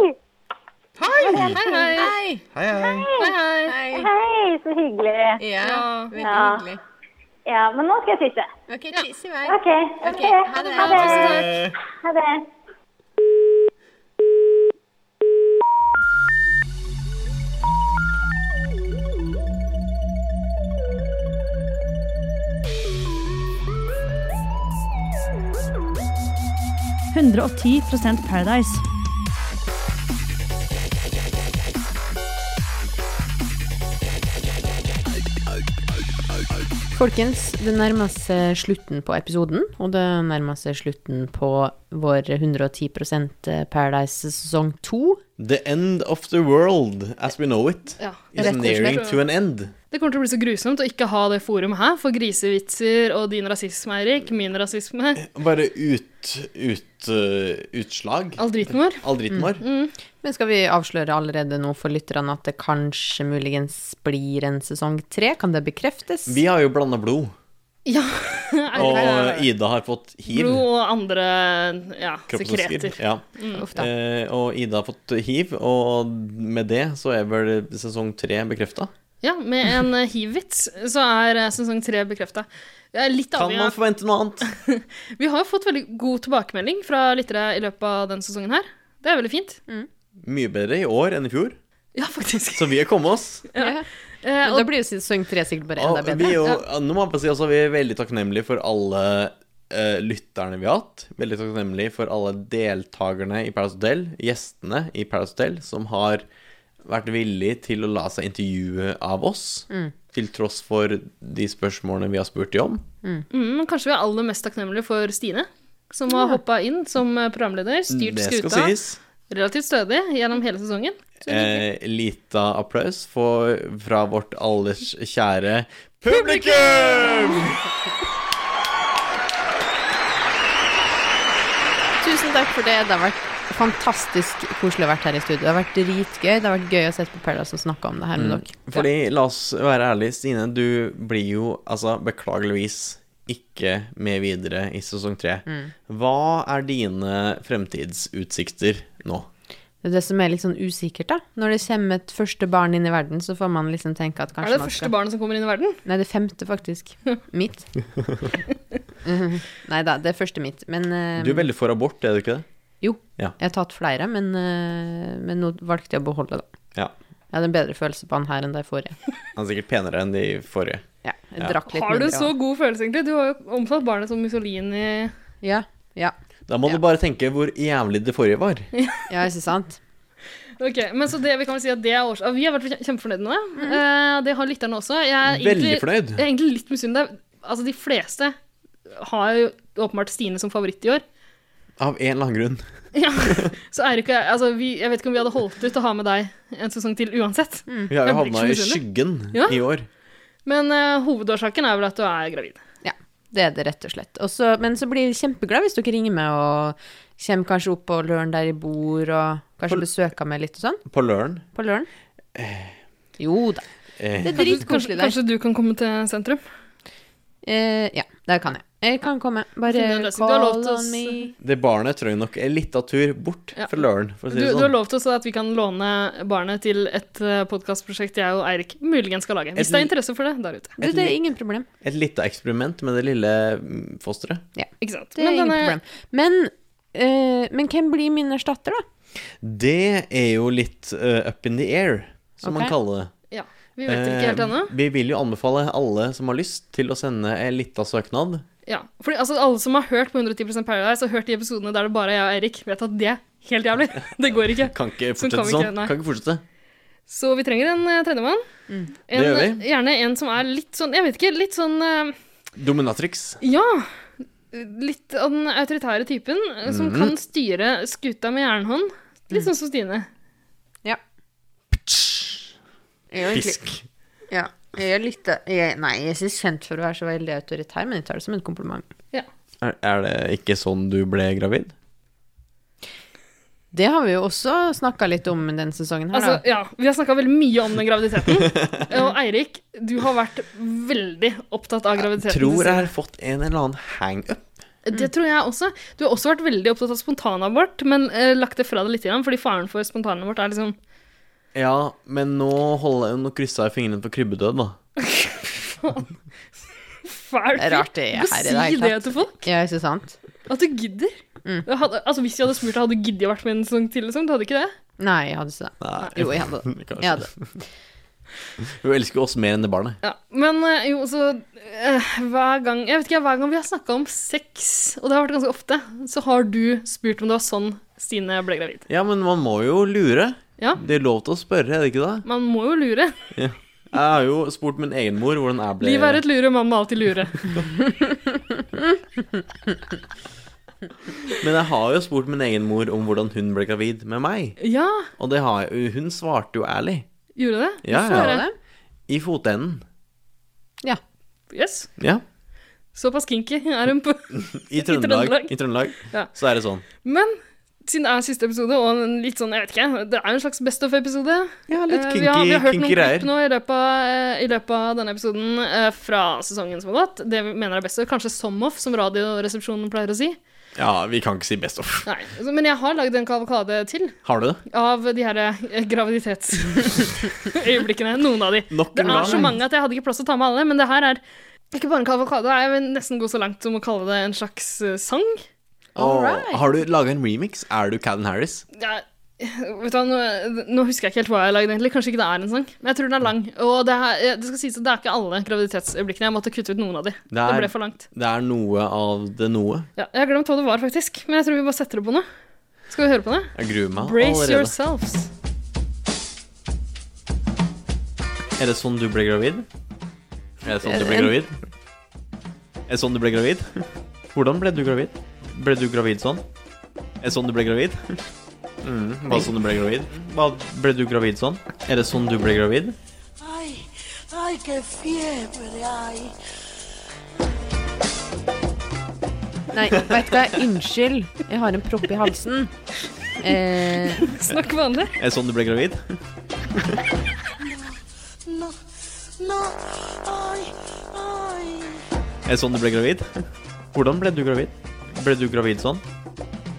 Hei! Hei, hei! Hei! Hei, hei. Hei, hei. Hei. Hei, så hyggelig. Ja, Ja. veldig Ja. hyggelig. Ja, men nå skal jeg tisse. OK, tiss i vei. OK. ok, ha det bra. Ha det. Eh, Ha det. Folkens, det nærmer seg slutten på episoden, og det nærmer seg slutten på vår 110 eh, Paradise sesong 2. The end of the world as we know it Ja, is nearing to an end. Det kommer til å bli så grusomt å ikke ha det forumet her for grisevitser og din rasisme, Eirik, min rasisme, Bare ut, ut eh, utslag. all driten vår. All dritten vår. mm. Men skal vi avsløre allerede nå for lytterne at det kanskje muligens blir en sesong 3? Kan det bekreftes? Vi har jo blanda blod, Ja. og Ida har fått hiv. Blod og andre ja, Kroppens sekreter. Mm. hiv, Ja. Uff da. Eh, og Ida har fått hiv, og med det så er vel sesong tre bekrefta. Ja, med en eh, hiv-vits så er eh, sesong tre bekrefta. Det er litt Kan avhengig man av forvente noe annet? Vi har jo fått veldig god tilbakemelding fra lyttere i løpet av denne sesongen her. Det er veldig fint. Mm. Mye bedre i år enn i fjor, Ja, faktisk. så vi har kommet oss. Ja. Eh, Men og da blir jo sesong 3 sikkert bare enda Og vi er bedre. jo, nå må jeg bare si også, vi er veldig takknemlige for alle eh, lytterne vi har hatt. Veldig takknemlige for alle deltakerne i Paradise Hotel, gjestene i Paradise Hotel, som har vært villige til å la seg intervjue av oss. Til tross for de spørsmålene vi har spurt de om. mm, kanskje vi er aller mest takknemlige for Stine, som har hoppa inn som eh, programleder, styrt Det skal skuta sies. relativt stødig gjennom hele sesongen. Eh, lita applaus for, fra vårt alles kjære publikum! Tusen takk for det. Det har vært fantastisk koselig å ha vært her i studio. Det har vært dritgøy. Det har vært gøy å sette på Paradise og snakke om det her med dere. Mm, Fordi, la oss være ærlige, Stine, du blir jo altså beklageligvis ikke med videre Mm. i sesong tre. Hva er dine fremtidsutsikter nå? Det er det som er litt sånn usikkert, da. Når det kommer et første barn inn i verden, så får man liksom tenke at Er kanskje det det man første skal barnet som kommer inn i verden? Nei, det femte, faktisk. Mitt. Nei da, det første mitt. Men eh, Du er veldig for abort, er du ikke det? Jo. Ja. Jeg har tatt flere, men, eh, men nå valgte jeg å beholde det. Ja. Jeg hadde en bedre følelse på han her enn de forrige. Han er sikkert penere enn de forrige. Ja, jeg Ja. drakk litt Har du mindre, så også. god følelse, egentlig? Du har jo omtalt barnet som Mussolini. Ja, ja. Da må Ja. du bare tenke hvor jævlig det forrige var. Ja, ikke sant? Ok, men så det Vi kan vel si at det er års... Vi har vært kjem- kjempefornøyde med det. Mhm. Eh, det har lytterne også. Jeg er Veldig egentlig- fornøyd. Jeg er egentlig litt misunnelig. Altså, de fleste har jo åpenbart Stine som favoritt i år. Av en eller annen grunn. Ja, så er det ikke altså, vi, Jeg vet ikke om vi hadde holdt ut å ha med deg en sesong til uansett. Mm. Vi har Jeg jo Mm. blir ikke havna i så misunnelig. skyggen Ja. i år. Men eh, hovedårsaken er vel at du er gravid. Ja, det er det rett og slett. Og så- men så blir jeg kjempeglad hvis dere ringer meg og kommer kanskje opp på Løren der jeg bor, og kanskje besøker meg litt og sånn På Løren. på Løren. Eh. Jo da. Eh, Det er Kanskje, dritkoselig der. kanskje du kan komme til sentrum? Eh, ja, det kan jeg. Jeg kan komme. Finne Bare en løsning. Du har lov call til å s- on me. det barnet trenger nok en liten tur bort Ja. fra Løren, for å si Du, det du har sånn. lovt oss at vi kan låne barnet til et uh, podkastprosjekt jeg og Eirik muligens skal lage. Hvis Et det er li- interesse for det der ute. Du, det er ingen problem. Et lite eksperiment med det lille mm, fosteret. Ikke sant? Det er ingen problem. Men, eh, men hvem blir min erstatter, da? Det er jo litt eh, up in the air, som Ok. man kaller det. Ja, Vi vet ikke helt Eh, ennå. Vi vil jo anbefale alle som har lyst, til å sende en liten søknad. Ja, fordi altså, alle som har hørt på 110 Paradise og hørt de episodene der det bare er jeg og Eirik, vet at det er helt jævlig. Det går ikke. Kan ikke fortsette Sånn kan vi sånn. ikke, nei. kan ikke fortsette. Så vi trenger en eh, tredjemann. En, eh, Det gjør vi. Gjerne en som er litt sånn, jeg vet ikke, litt sånn eh, Dominatrix. Ja. Litt av den autoritære typen eh, Mhm. som kan styre skuta med jernhånd. Litt sånn som Stine. Ja. Fisk. Ja. Jeg er litt Nei, jeg er ikke kjent for å være så veldig autoritær, men jeg tar det som en kompliment. Er, er det ikke sånn du ble gravid? Det har vi jo også snakka litt om denne sesongen her, Altså, da. ja, Vi har snakka veldig mye om den graviditeten. og Eirik, du har vært veldig opptatt av graviditeten. Tror jeg har fått en eller annen hangup. Det Mm. tror jeg også. Du har også vært veldig opptatt av spontanabort, men eh, lagt det fra deg litt, igjen, fordi faren for spontanabort er liksom Ja, men nå, holder, nå kryssa jeg fingrene på krybbedød, da. fæl. Det er rart det er Du må her i si det hele det tatt. Mm. til folk. Ja, ikke sant? At du gidder. Jeg Hadde, altså Hvis jeg hadde spurt deg, hadde du giddet å vært med en sesong til? Liksom. Du hadde ikke det? Nei, jeg hadde ikke det. Nei. Jo, jeg hadde det. Kanskje. Jeg hadde. det. Hun elsker jo oss mer enn det barnet. Ja, Men eh, jo, så eh, hver gang Jeg vet ikke, hver gang vi har snakka om sex, og det har vært ganske ofte, så har du spurt om det var sånn Stine ble gravid. Ja, men man må jo lure. Ja. Det er lov til å spørre, er det ikke det? Man må jo lure. Jeg har jo spurt min egen mor hvordan jeg ble Liv er et lure, man må alltid lure. Men jeg har jo spurt min egen mor om hvordan hun ble gravid med meg. Ja, Og det har jeg, hun svarte jo ærlig. gjorde det? Ja, Hvorfor ja. er det? I fotenden. Yes. Ja. Såpass kinky er hun på I Trøndelag. I Trøndelag. Trøndelag. Ja. Så er det sånn. Men siden det er siste episode, og en litt sånn, jeg vet ikke, det er jo en slags best of-episode. Ja, litt Eh, kinky, vi, har, vi har hørt noen kinky klipp greier. nå i løpet, av, eh, i løpet av denne episoden eh, fra sesongen som har gått. Det vi mener er best of, kanskje som off, som radioresepsjonen pleier å si. Ja, vi kan ikke si best of. Nei, altså, Men jeg har lagd en kavalkade til Har du det? av de her eh, graviditetsøyeblikkene. Noen av de. Nok Det en er gang. så mange at jeg hadde ikke plass til å ta med alle, men det her er ikke bare en kavalkade. Jeg vil nesten gå så langt som å kalle det en slags eh, sang. Åh, Alright. Har du laga en remix? Er du Calvin Harris? Ja, vet du hva, nå, nå husker jeg ikke helt hva jeg lagde egentlig. Kanskje ikke det er en sang. Men jeg tror den er lang. Og det, er, det skal sies at det er ikke alle graviditetsøyeblikkene. Jeg måtte kutte ut noen av de. Det, er- ble for langt. Det er noe av det noe. Ja, jeg har glemt hva det var, faktisk. Men jeg tror vi bare setter det på nå. Skal vi høre på det? Jeg gruer meg Brace allerede. yourselves. Er det sånn du ble gravid? Er det sånn du ble En- gravid? Er det sånn du ble gravid? Hvordan ble du gravid? Ble du gravid sånn? Er det sånn du ble gravid? Mm, var det sånn du ble gravid? Hva, ble du gravid sånn? Er det sånn du ble gravid? Nei, vet du hva, unnskyld. Jeg har en propp i halsen. Eh, Snakk vanlig. Er det sånn du ble gravid? Er det sånn du ble gravid? Hvordan ble du gravid? Ble du gravid sånn?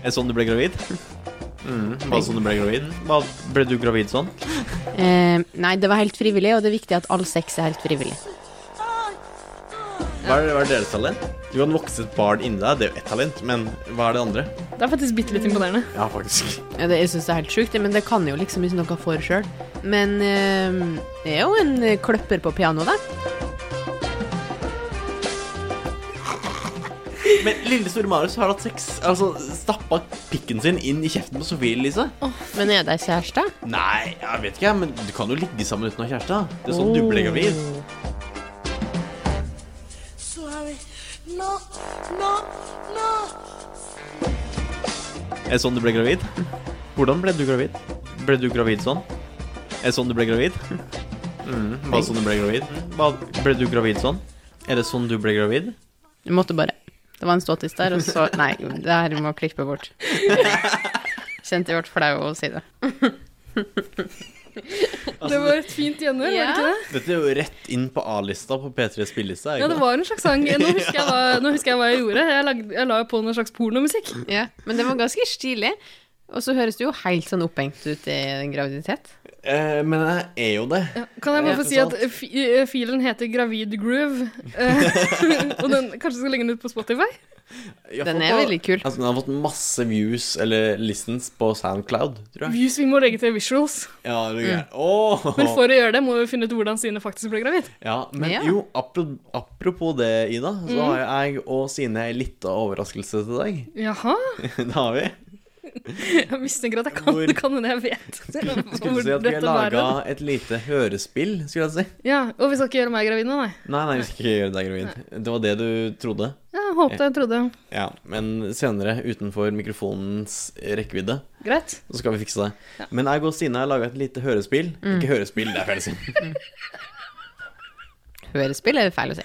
Er det sånn du ble gravid? Bare sånn du ble gravid? Bare ble du gravid sånn? Eh, nei, det var helt frivillig, og det er viktig at all sex er helt frivillig. Hva er, hva er deres talent? Du kan vokse et barn inni deg, det er jo ett talent, men hva er det andre? Det er faktisk bitte litt imponerende. Ja, faktisk. Ja, det, jeg syns det er helt sjukt, det, men det kan jeg jo liksom ikke noe for sjøl. Men eh, jeg er jo en kløpper på piano, da. Men lille store Marius har hatt sex. Altså stappa pikken sin inn i kjeften på Sofie Elise. Men er det kjæreste? Nei, jeg vet ikke, men du kan jo ligge sammen uten å ha kjæreste. da. Det er sånn du ble gravid. Er det sånn du ble gravid? Hvordan ble du gravid? Ble du gravid sånn? Er det sånn du ble gravid? Mm, bare sånn du ble gravid? Bare ble du gravid sånn? Er det sånn du ble gravid? Jeg måtte bare. Det var en ståtiss der, og så Nei, det her må jeg klippe bort. Kjente jeg ble flau av å si det. Det var et fint gjenhør, var det ikke det? Dette er jo rett inn på A-lista på P3s spilleliste. Ja, det var en slags sang. Nå husker jeg hva, nå husker jeg, hva jeg gjorde. Jeg, lagde, jeg la jo på noe slags pornomusikk. Ja, Men det var ganske stilig. Og så høres du jo helt sånn opphengt ut i en graviditet. Eh, men jeg er jo det. Kan jeg bare få si Ja, at fi- eh, filen heter Gravid Groove? Eh, og den kanskje skal legge den ut på Spotify? Jeg har Den fått er da- veldig kul. Altså, den har fått masse views eller listens på Soundcloud, tror jeg. Views vi må legge til visuals. Ja, det er greit. Åh! Mm. Men for å gjøre det må vi finne ut hvordan Sine faktisk ble gravid. Ja, men Ja. jo, apro- apropos det, Ida, så Mm. har jeg og Sine en liten overraskelse til deg. Jaha? Det har vi. Jeg mistenker at jeg kan, Hvor- det kan hende jeg vet. Skulle hvor du si at vi har dette bærer. laga et lite hørespill, skulle jeg si. Ja, Og vi skal ikke gjøre meg gravid nå, nei. Nei, nei, vi skal ikke gjøre deg gravid. Det var det du trodde. Jeg håpet jeg trodde. Ja, men senere, utenfor mikrofonens rekkevidde, Greit. så skal vi fikse det. Men jeg og Sine har laga et lite hørespill. Mm. Ikke hørespill, det er feil å si. Hørespill er det feil å si.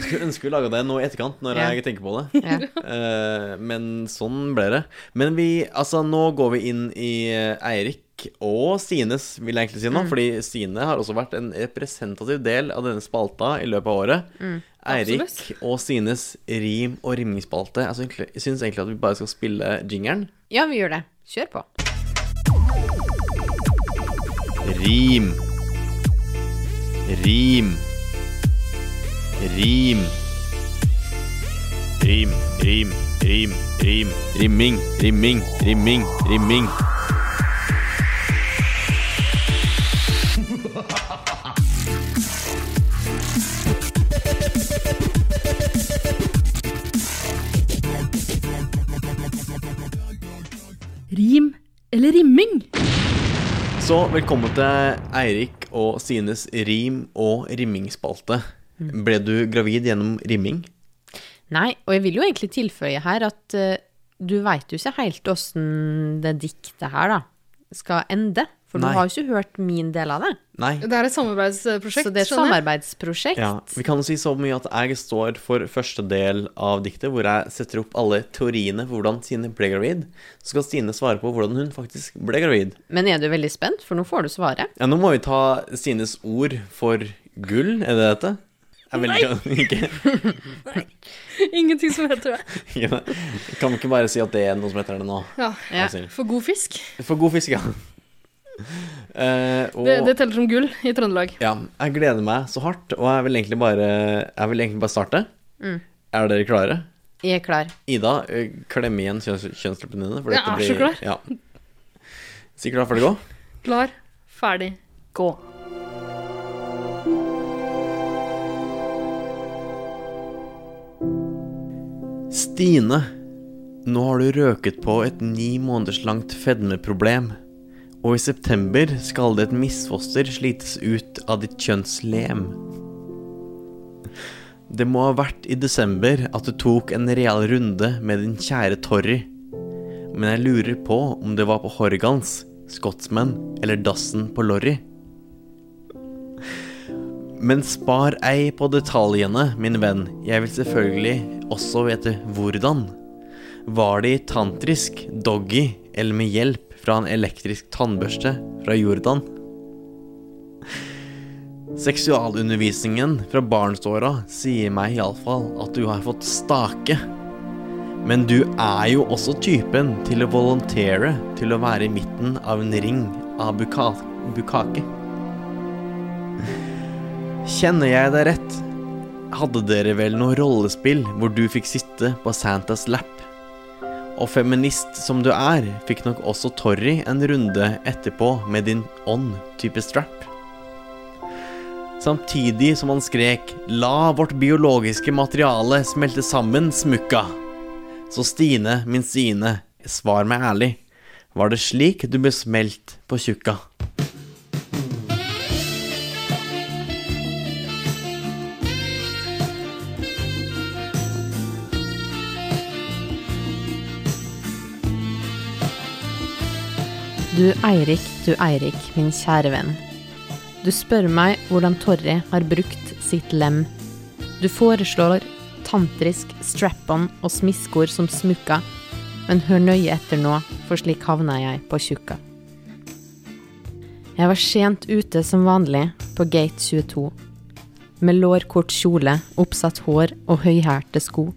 Skulle ønske vi laga det nå i etterkant, når Ja. jeg tenker på det. Ja. Eh, men sånn ble det. Men vi, altså, nå går vi inn i eh, Eirik og Sines, vil jeg egentlig si nå. Mm. Fordi Sine har også vært en representativ del av denne spalta i løpet av året. Mm. Eirik Absolutt. og Sines rim- og rimningsspalte. Altså, egentlig- jeg syns egentlig at vi bare skal spille jingeren. ja, vi gjør det. Kjør på. Rim. Rim. Rim. Rim, rim, rim, rim. Rimming, rimming, rimming, rimming. Rim eller rimming? Så velkommen til Eirik og Sines rim- og rimmingsspalte. Mm. Ble du gravid gjennom rimming? Nei, og jeg vil jo egentlig tilføye her at eh, du veit jo ikke helt åssen det diktet her da skal ende. For Nei. du har jo ikke hørt min del av det. Nei. Det er et samarbeidsprosjekt, så det er skjønner et jeg. samarbeidsprosjekt. Ja, vi kan jo si så mye at jeg står for første del av diktet, hvor jeg setter opp alle teoriene for hvordan Sine ble gravid. Så skal Stine svare på hvordan hun faktisk ble gravid. Men er du veldig spent, for nå får du svaret? Ja, nå må vi ta Stines ord for gull, er det dette? Jeg vil ikke, ikke, Ingenting som heter det. ikke det. Kan vi ikke bare si at det er noe som heter det nå? Ja. Ja. Asil? For god fisk. For god fisk, ja. Eh, og, Det, det teller som gull i Trøndelag. ja, jeg gleder meg så hardt, og jeg vil egentlig bare, jeg vil egentlig bare starte. Mm. Er dere klare? Jeg er klar. Ida, eh, klem igjen kjønns kjønnsleppene dine. for Jeg dette er så klar. Ja. Si klar for det gå. Klar, ferdig, gå. Stine, nå har du røket på et ni måneders langt fedmeproblem. Og i september skal det et misfoster slites ut av ditt kjønnslem. Det må ha vært i desember at du tok en real runde med din kjære Torry. Men jeg lurer på om det var på Horgans, Scotsman eller dassen på Lorry. Men spar ei på detaljene, min venn. Jeg vil selvfølgelig også vite hvordan. Var det i tantrisk, doggy eller med hjelp fra en elektrisk tannbørste fra Jordan? Seksualundervisningen fra barnsåra sier meg iallfall at du har fått stake. Men du er jo også typen til å volontere til å være i midten av en ring av buka bukake. Kjenner jeg deg rett, hadde dere vel noe rollespill hvor du fikk sitte på Santas lap. Og feminist som du er, fikk nok også Torry en runde etterpå med din ånd-type strap. Samtidig som han skrek 'La vårt biologiske materiale smelte sammen, smukka'. Så Stine, min Stine, svar meg ærlig. Var det slik du ble smelt på tjukka? Du Eirik, du Eirik, min kjære venn. Du spør meg hvordan Torry har brukt sitt lem. Du foreslår tantrisk strap-on og smiskor som smukka, men hør nøye etter nå, for slik havna jeg på tjukka. Jeg var sent ute som vanlig på gate 22, med lårkort kjole, oppsatt hår og høyhælte sko.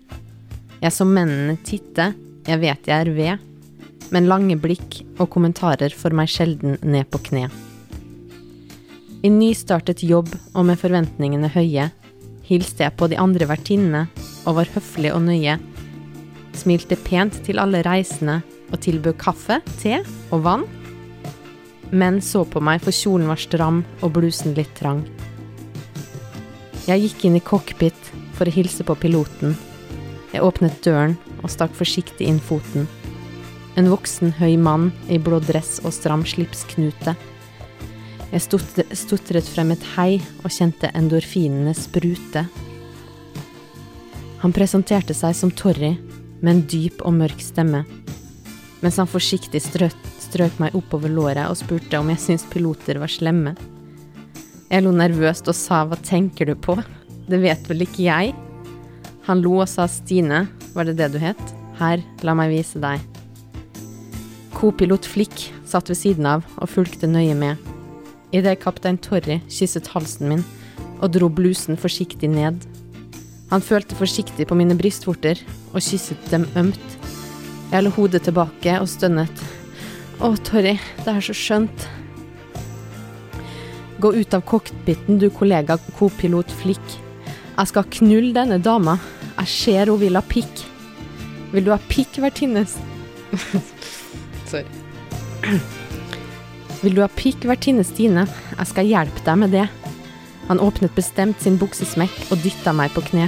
Jeg så mennene titte, jeg vet jeg er ved, men lange blikk og kommentarer får meg sjelden ned på kne. I nystartet jobb og med forventningene høye hilste jeg på de andre vertinnene og var høflig og nøye. Smilte pent til alle reisende og tilbød kaffe, te og vann. Menn så på meg for kjolen var stram og blusen litt trang. Jeg gikk inn i cockpit for å hilse på piloten. Jeg åpnet døren og stakk forsiktig inn foten. En voksen, høy mann i blå dress og stram slipsknute. Jeg stotre- stotret frem et hei og kjente endorfinene sprute. Han presenterte seg som Torry med en dyp og mørk stemme, mens han forsiktig strø strøk meg oppover låret og spurte om jeg syntes piloter var slemme. Jeg lo nervøst og sa hva tenker du på? Det vet vel ikke jeg? Han lo og sa Stine, var det det du het? Her, la meg vise deg. Co-pilot Flick satt ved siden av og fulgte nøye med. Idet kaptein Torry kysset halsen min og dro blusen forsiktig ned. Han følte forsiktig på mine brystvorter og kysset dem ømt. Jeg la hodet tilbake og stønnet. Å, Torry, det er så skjønt. Gå ut av cockpiten, du kollega co-pilot Flick. Jeg skal knulle denne dama. Jeg ser hun vil ha pikk. Vil du ha pikk, vertinne? Vil du ha pikk, vertinne Stine? Jeg skal hjelpe deg med det. Han åpnet bestemt sin buksesmekk og dytta meg på kne.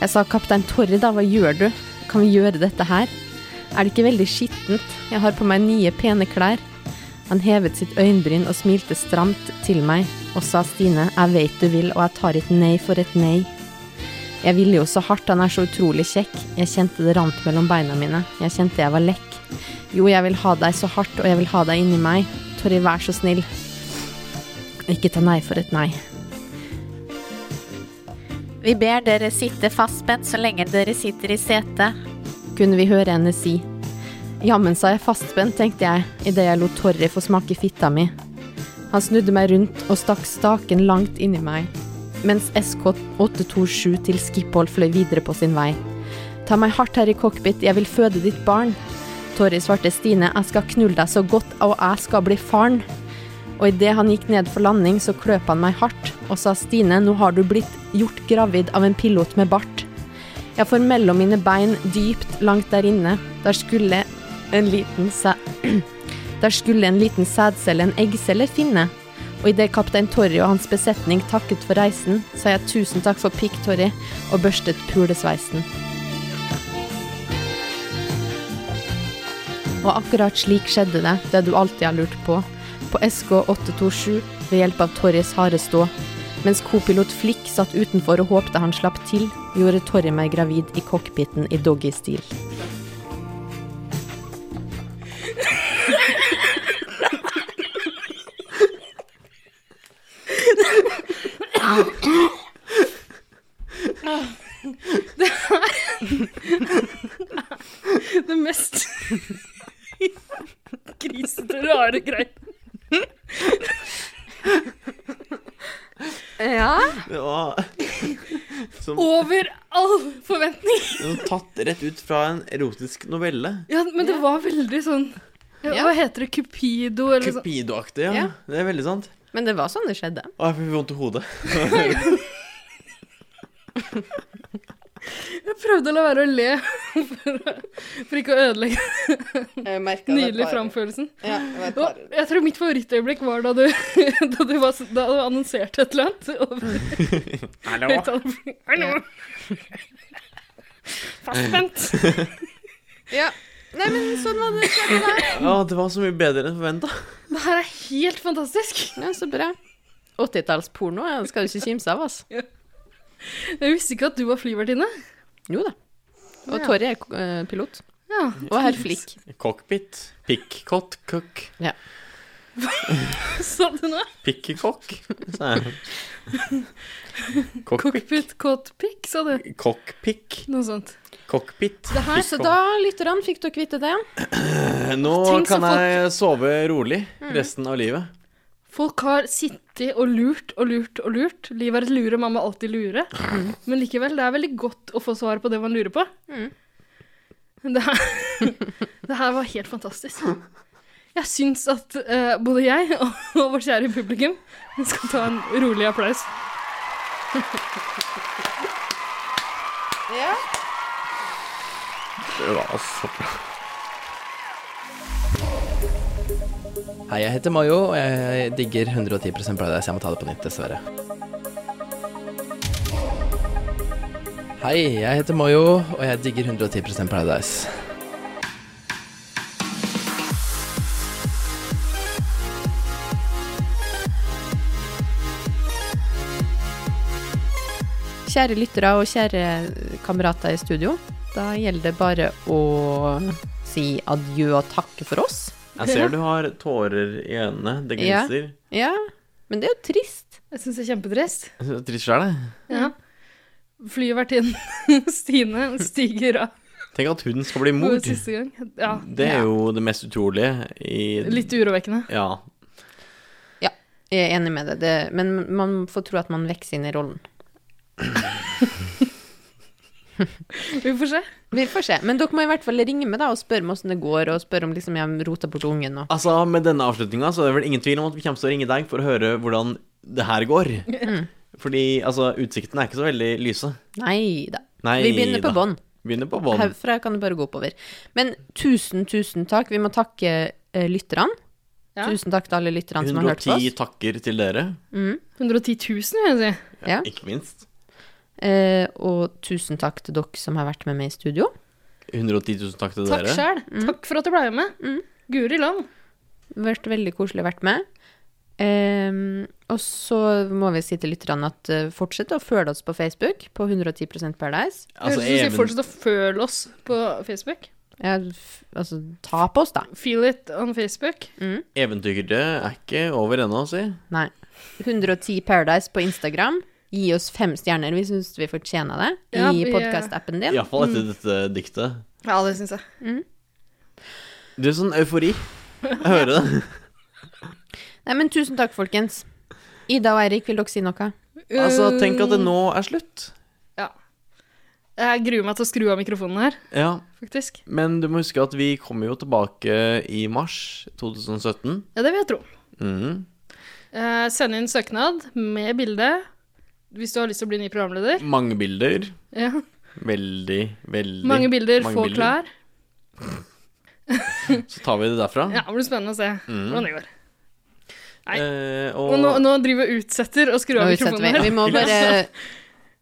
Jeg sa kaptein Torry, da, hva gjør du? Kan vi gjøre dette her? Er det ikke veldig skittent? Jeg har på meg nye, pene klær. Han hevet sitt øyenbryn og smilte stramt til meg og sa Stine, jeg veit du vil, og jeg tar et nei for et nei. Jeg ville jo så hardt, han er så utrolig kjekk. Jeg kjente det rant mellom beina mine. Jeg kjente jeg var lekk. Jo, jeg vil ha deg så hardt, og jeg vil ha deg inni meg. Torry, vær så snill. Ikke ta nei for et nei. Vi ber dere sitte fastspent så lenge dere sitter i setet, kunne vi høre henne si. Jammen sa jeg fastspent, tenkte jeg, idet jeg lot Torry få smake fitta mi. Han snudde meg rundt og stakk staken langt inni meg, mens SK827 til Skiphol fløy videre på sin vei. Ta meg hardt her i cockpit, jeg vil føde ditt barn. Torry svarte Stine, jeg skal knulle deg så godt, og jeg skal bli faren. Og idet han gikk ned for landing, så kløp han meg hardt og sa Stine, nå har du blitt gjort gravid av en pilot med bart. Jeg får mellom mine bein, dypt langt der inne, der skulle en liten sæ... Der skulle en liten sædcelle, en eggcelle, finne. Og idet kaptein Torry og hans besetning takket for reisen, sa jeg tusen takk for pikk, Torry, og børstet pulesveisen. Og akkurat slik skjedde det, det du alltid har lurt på, på SK827 ved hjelp av Torrys harde stå. Mens co-pilot Flick satt utenfor og håpte han slapp til, gjorde Torry meg gravid i cockpiten i doggystil. Det mest grisete, rare greiene. Ja. Det var som Over all forventning. som tatt rett ut fra en erotisk novelle. Ja, men det var veldig sånn ja, Hva heter det? Cupido? Eller sånn. Cupido-aktig, ja. Ja. Det er veldig sant. Men det var sånn det skjedde. Å, jeg fikk vondt i hodet. Jeg prøvde å la være å le for, for ikke å ødelegge nydelig framførelsen. Ja, Og jeg tror mitt favorittøyeblikk var da du, da du, var, da du annonserte et eller annet. over Hallo? høyttaleren. Hallo! Fastspent. Nei, men sånn var det. Sånn var det. Å, det var så mye bedre enn forventa. Det her er helt fantastisk. Ja, så bra. 80-tallsporno ja, det skal du ikke kimse av, altså. Jeg visste ikke at du var flyvertinne. Jo da. Og Torje er eh, pilot. Ja. Og herr Flick. Cockpit. Pikkott. Cook. Sa du nå? Pikkekokk, sa jeg. Cockpit. Cockpit caught pick, sa du. Cockpick. Noe sånt. Cockpit. Det her, så da, lytterne, fikk dere vite det. Eh, Nå Tenk så kan jeg sove rolig Mm. resten av livet. Folk har sittet og lurt og lurt og lurt. Livet er et lure, man må alltid lure. Men likevel, det er veldig godt å få svar på det man lurer på. Det, her, det her var helt fantastisk. Jeg syns at eh, både jeg og, og vårt kjære publikum skal ta en rolig applaus. Hei, jeg heter Mayo, og jeg digger 110 Paradise. Jeg må ta det på nytt, dessverre. Hei, jeg heter Mayo, og jeg digger 110 Paradise. Kjære lyttere og kjære eh, kamerater i studio. Da gjelder det bare å si adjø og takke for oss. Jeg ser du har tårer i øynene. Det Ja. glinser. Ja, men det er jo trist. Jeg syns det er kjempetrist. Jeg synes det er Trist sjæl, jeg. Ja. Flyvertinnen Stine stiger av Tenk at hun skal bli for mor. siste gang. Ja, Det er jo det mest utrolige i litt urovekkende. Ja. Jeg er enig med deg, det, men man får tro at man vokser inn i rollen. Vi får se. Vi får se. Men dere må i hvert fall ringe meg da og spørre meg åssen det går, og spørre om liksom jeg rota bort ungen og Altså, med denne avslutninga så er det vel ingen tvil om at vi kommer til å ringe deg for å høre hvordan det her går. Mm. Fordi altså, utsiktene er ikke så veldig lyse. Nei da. Nei Vi begynner på da. bånn. Begynner på bånn. Herfra kan det bare gå oppover. Men tusen, tusen takk. Vi må takke eh, lytterne. Ja. Tusen takk til alle lytterne som har hørt på 110 oss. takker til dere, 110 000, vil jeg si. Ja. ikke minst. Eh, og tusen takk til dere som har vært med meg i studio. 110 000 takk til Takk dere. sjæl. Mm. Takk for at du ble med. Guri land. Vært veldig koselig å vært med. Ehm, og så må vi si til lytterne at eh, fortsett å følge oss på Facebook, på 110 Paradise. Altså, Høres ut som even- vi fortsetter å følge oss på Facebook. Ja, f- altså, ta på oss, da. Feel it on Facebook. Eventyret er ikke over ennå, si. Nei. 110 Paradise på Instagram. Gi oss fem stjerner. Vi syns vi fortjener det Ja, i vi- eh, podkastappen din. Iallfall etter dette diktet. Ja, det syns jeg. Du er sånn eufori. Jeg hører det. Nei, men tusen takk, folkens. Ida og Eirik, vil dere si noe? Altså, Uh, tenk at det nå Uh. er slutt. Jeg gruer meg til å skru av mikrofonen her, Ja, faktisk. men du må huske at vi kommer jo tilbake i mars 2017. Ja, det vil jeg tro. Mhm. Eh, send inn søknad med bilde hvis du har lyst til å bli ny programleder. Mange bilder. Ja. Veldig, veldig Mange bilder, mange få bilder. klær. Så tar vi det derfra. Ja, det blir spennende å se Mm. hvordan det går. nei. Eh, Og nå, nå driver vi og utsetter å skru Nå av utsetter vi. mikrofonen her. Vi må bare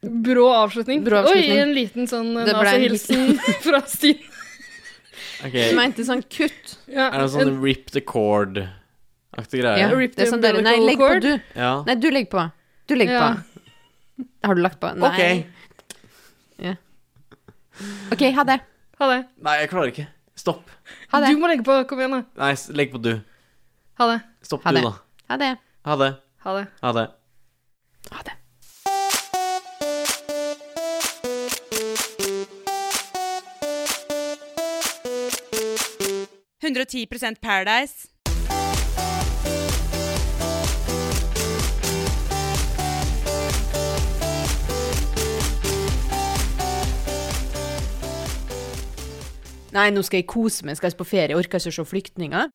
Brå avslutning. Brå avslutning. Oi, en liten sånn Det ble en NASA-hilsen fra Stine. ok. Du mente sånn kutt. Ja, Er det en sånn rip the cord-aktig Ja, greie? Ja, Rip det er the sånn der, nei, umbilical legg på cord. du. Nei, du legger på. Du legger Ja. på. Har du lagt på? Nei. Ok. Ja. OK, ha det. Ha det. Nei, jeg klarer ikke. Stopp. Ha det. Du må legge på. Kom igjen, da. Nei, s- legg på du. Ha det. Stopp Ha du, det. da. Ha det. Ha det. Ha det. Ha det. Ha det. Paradise. Nei, nå skal jeg kose meg, skal jeg på ferie, orker ikke å se flyktninger.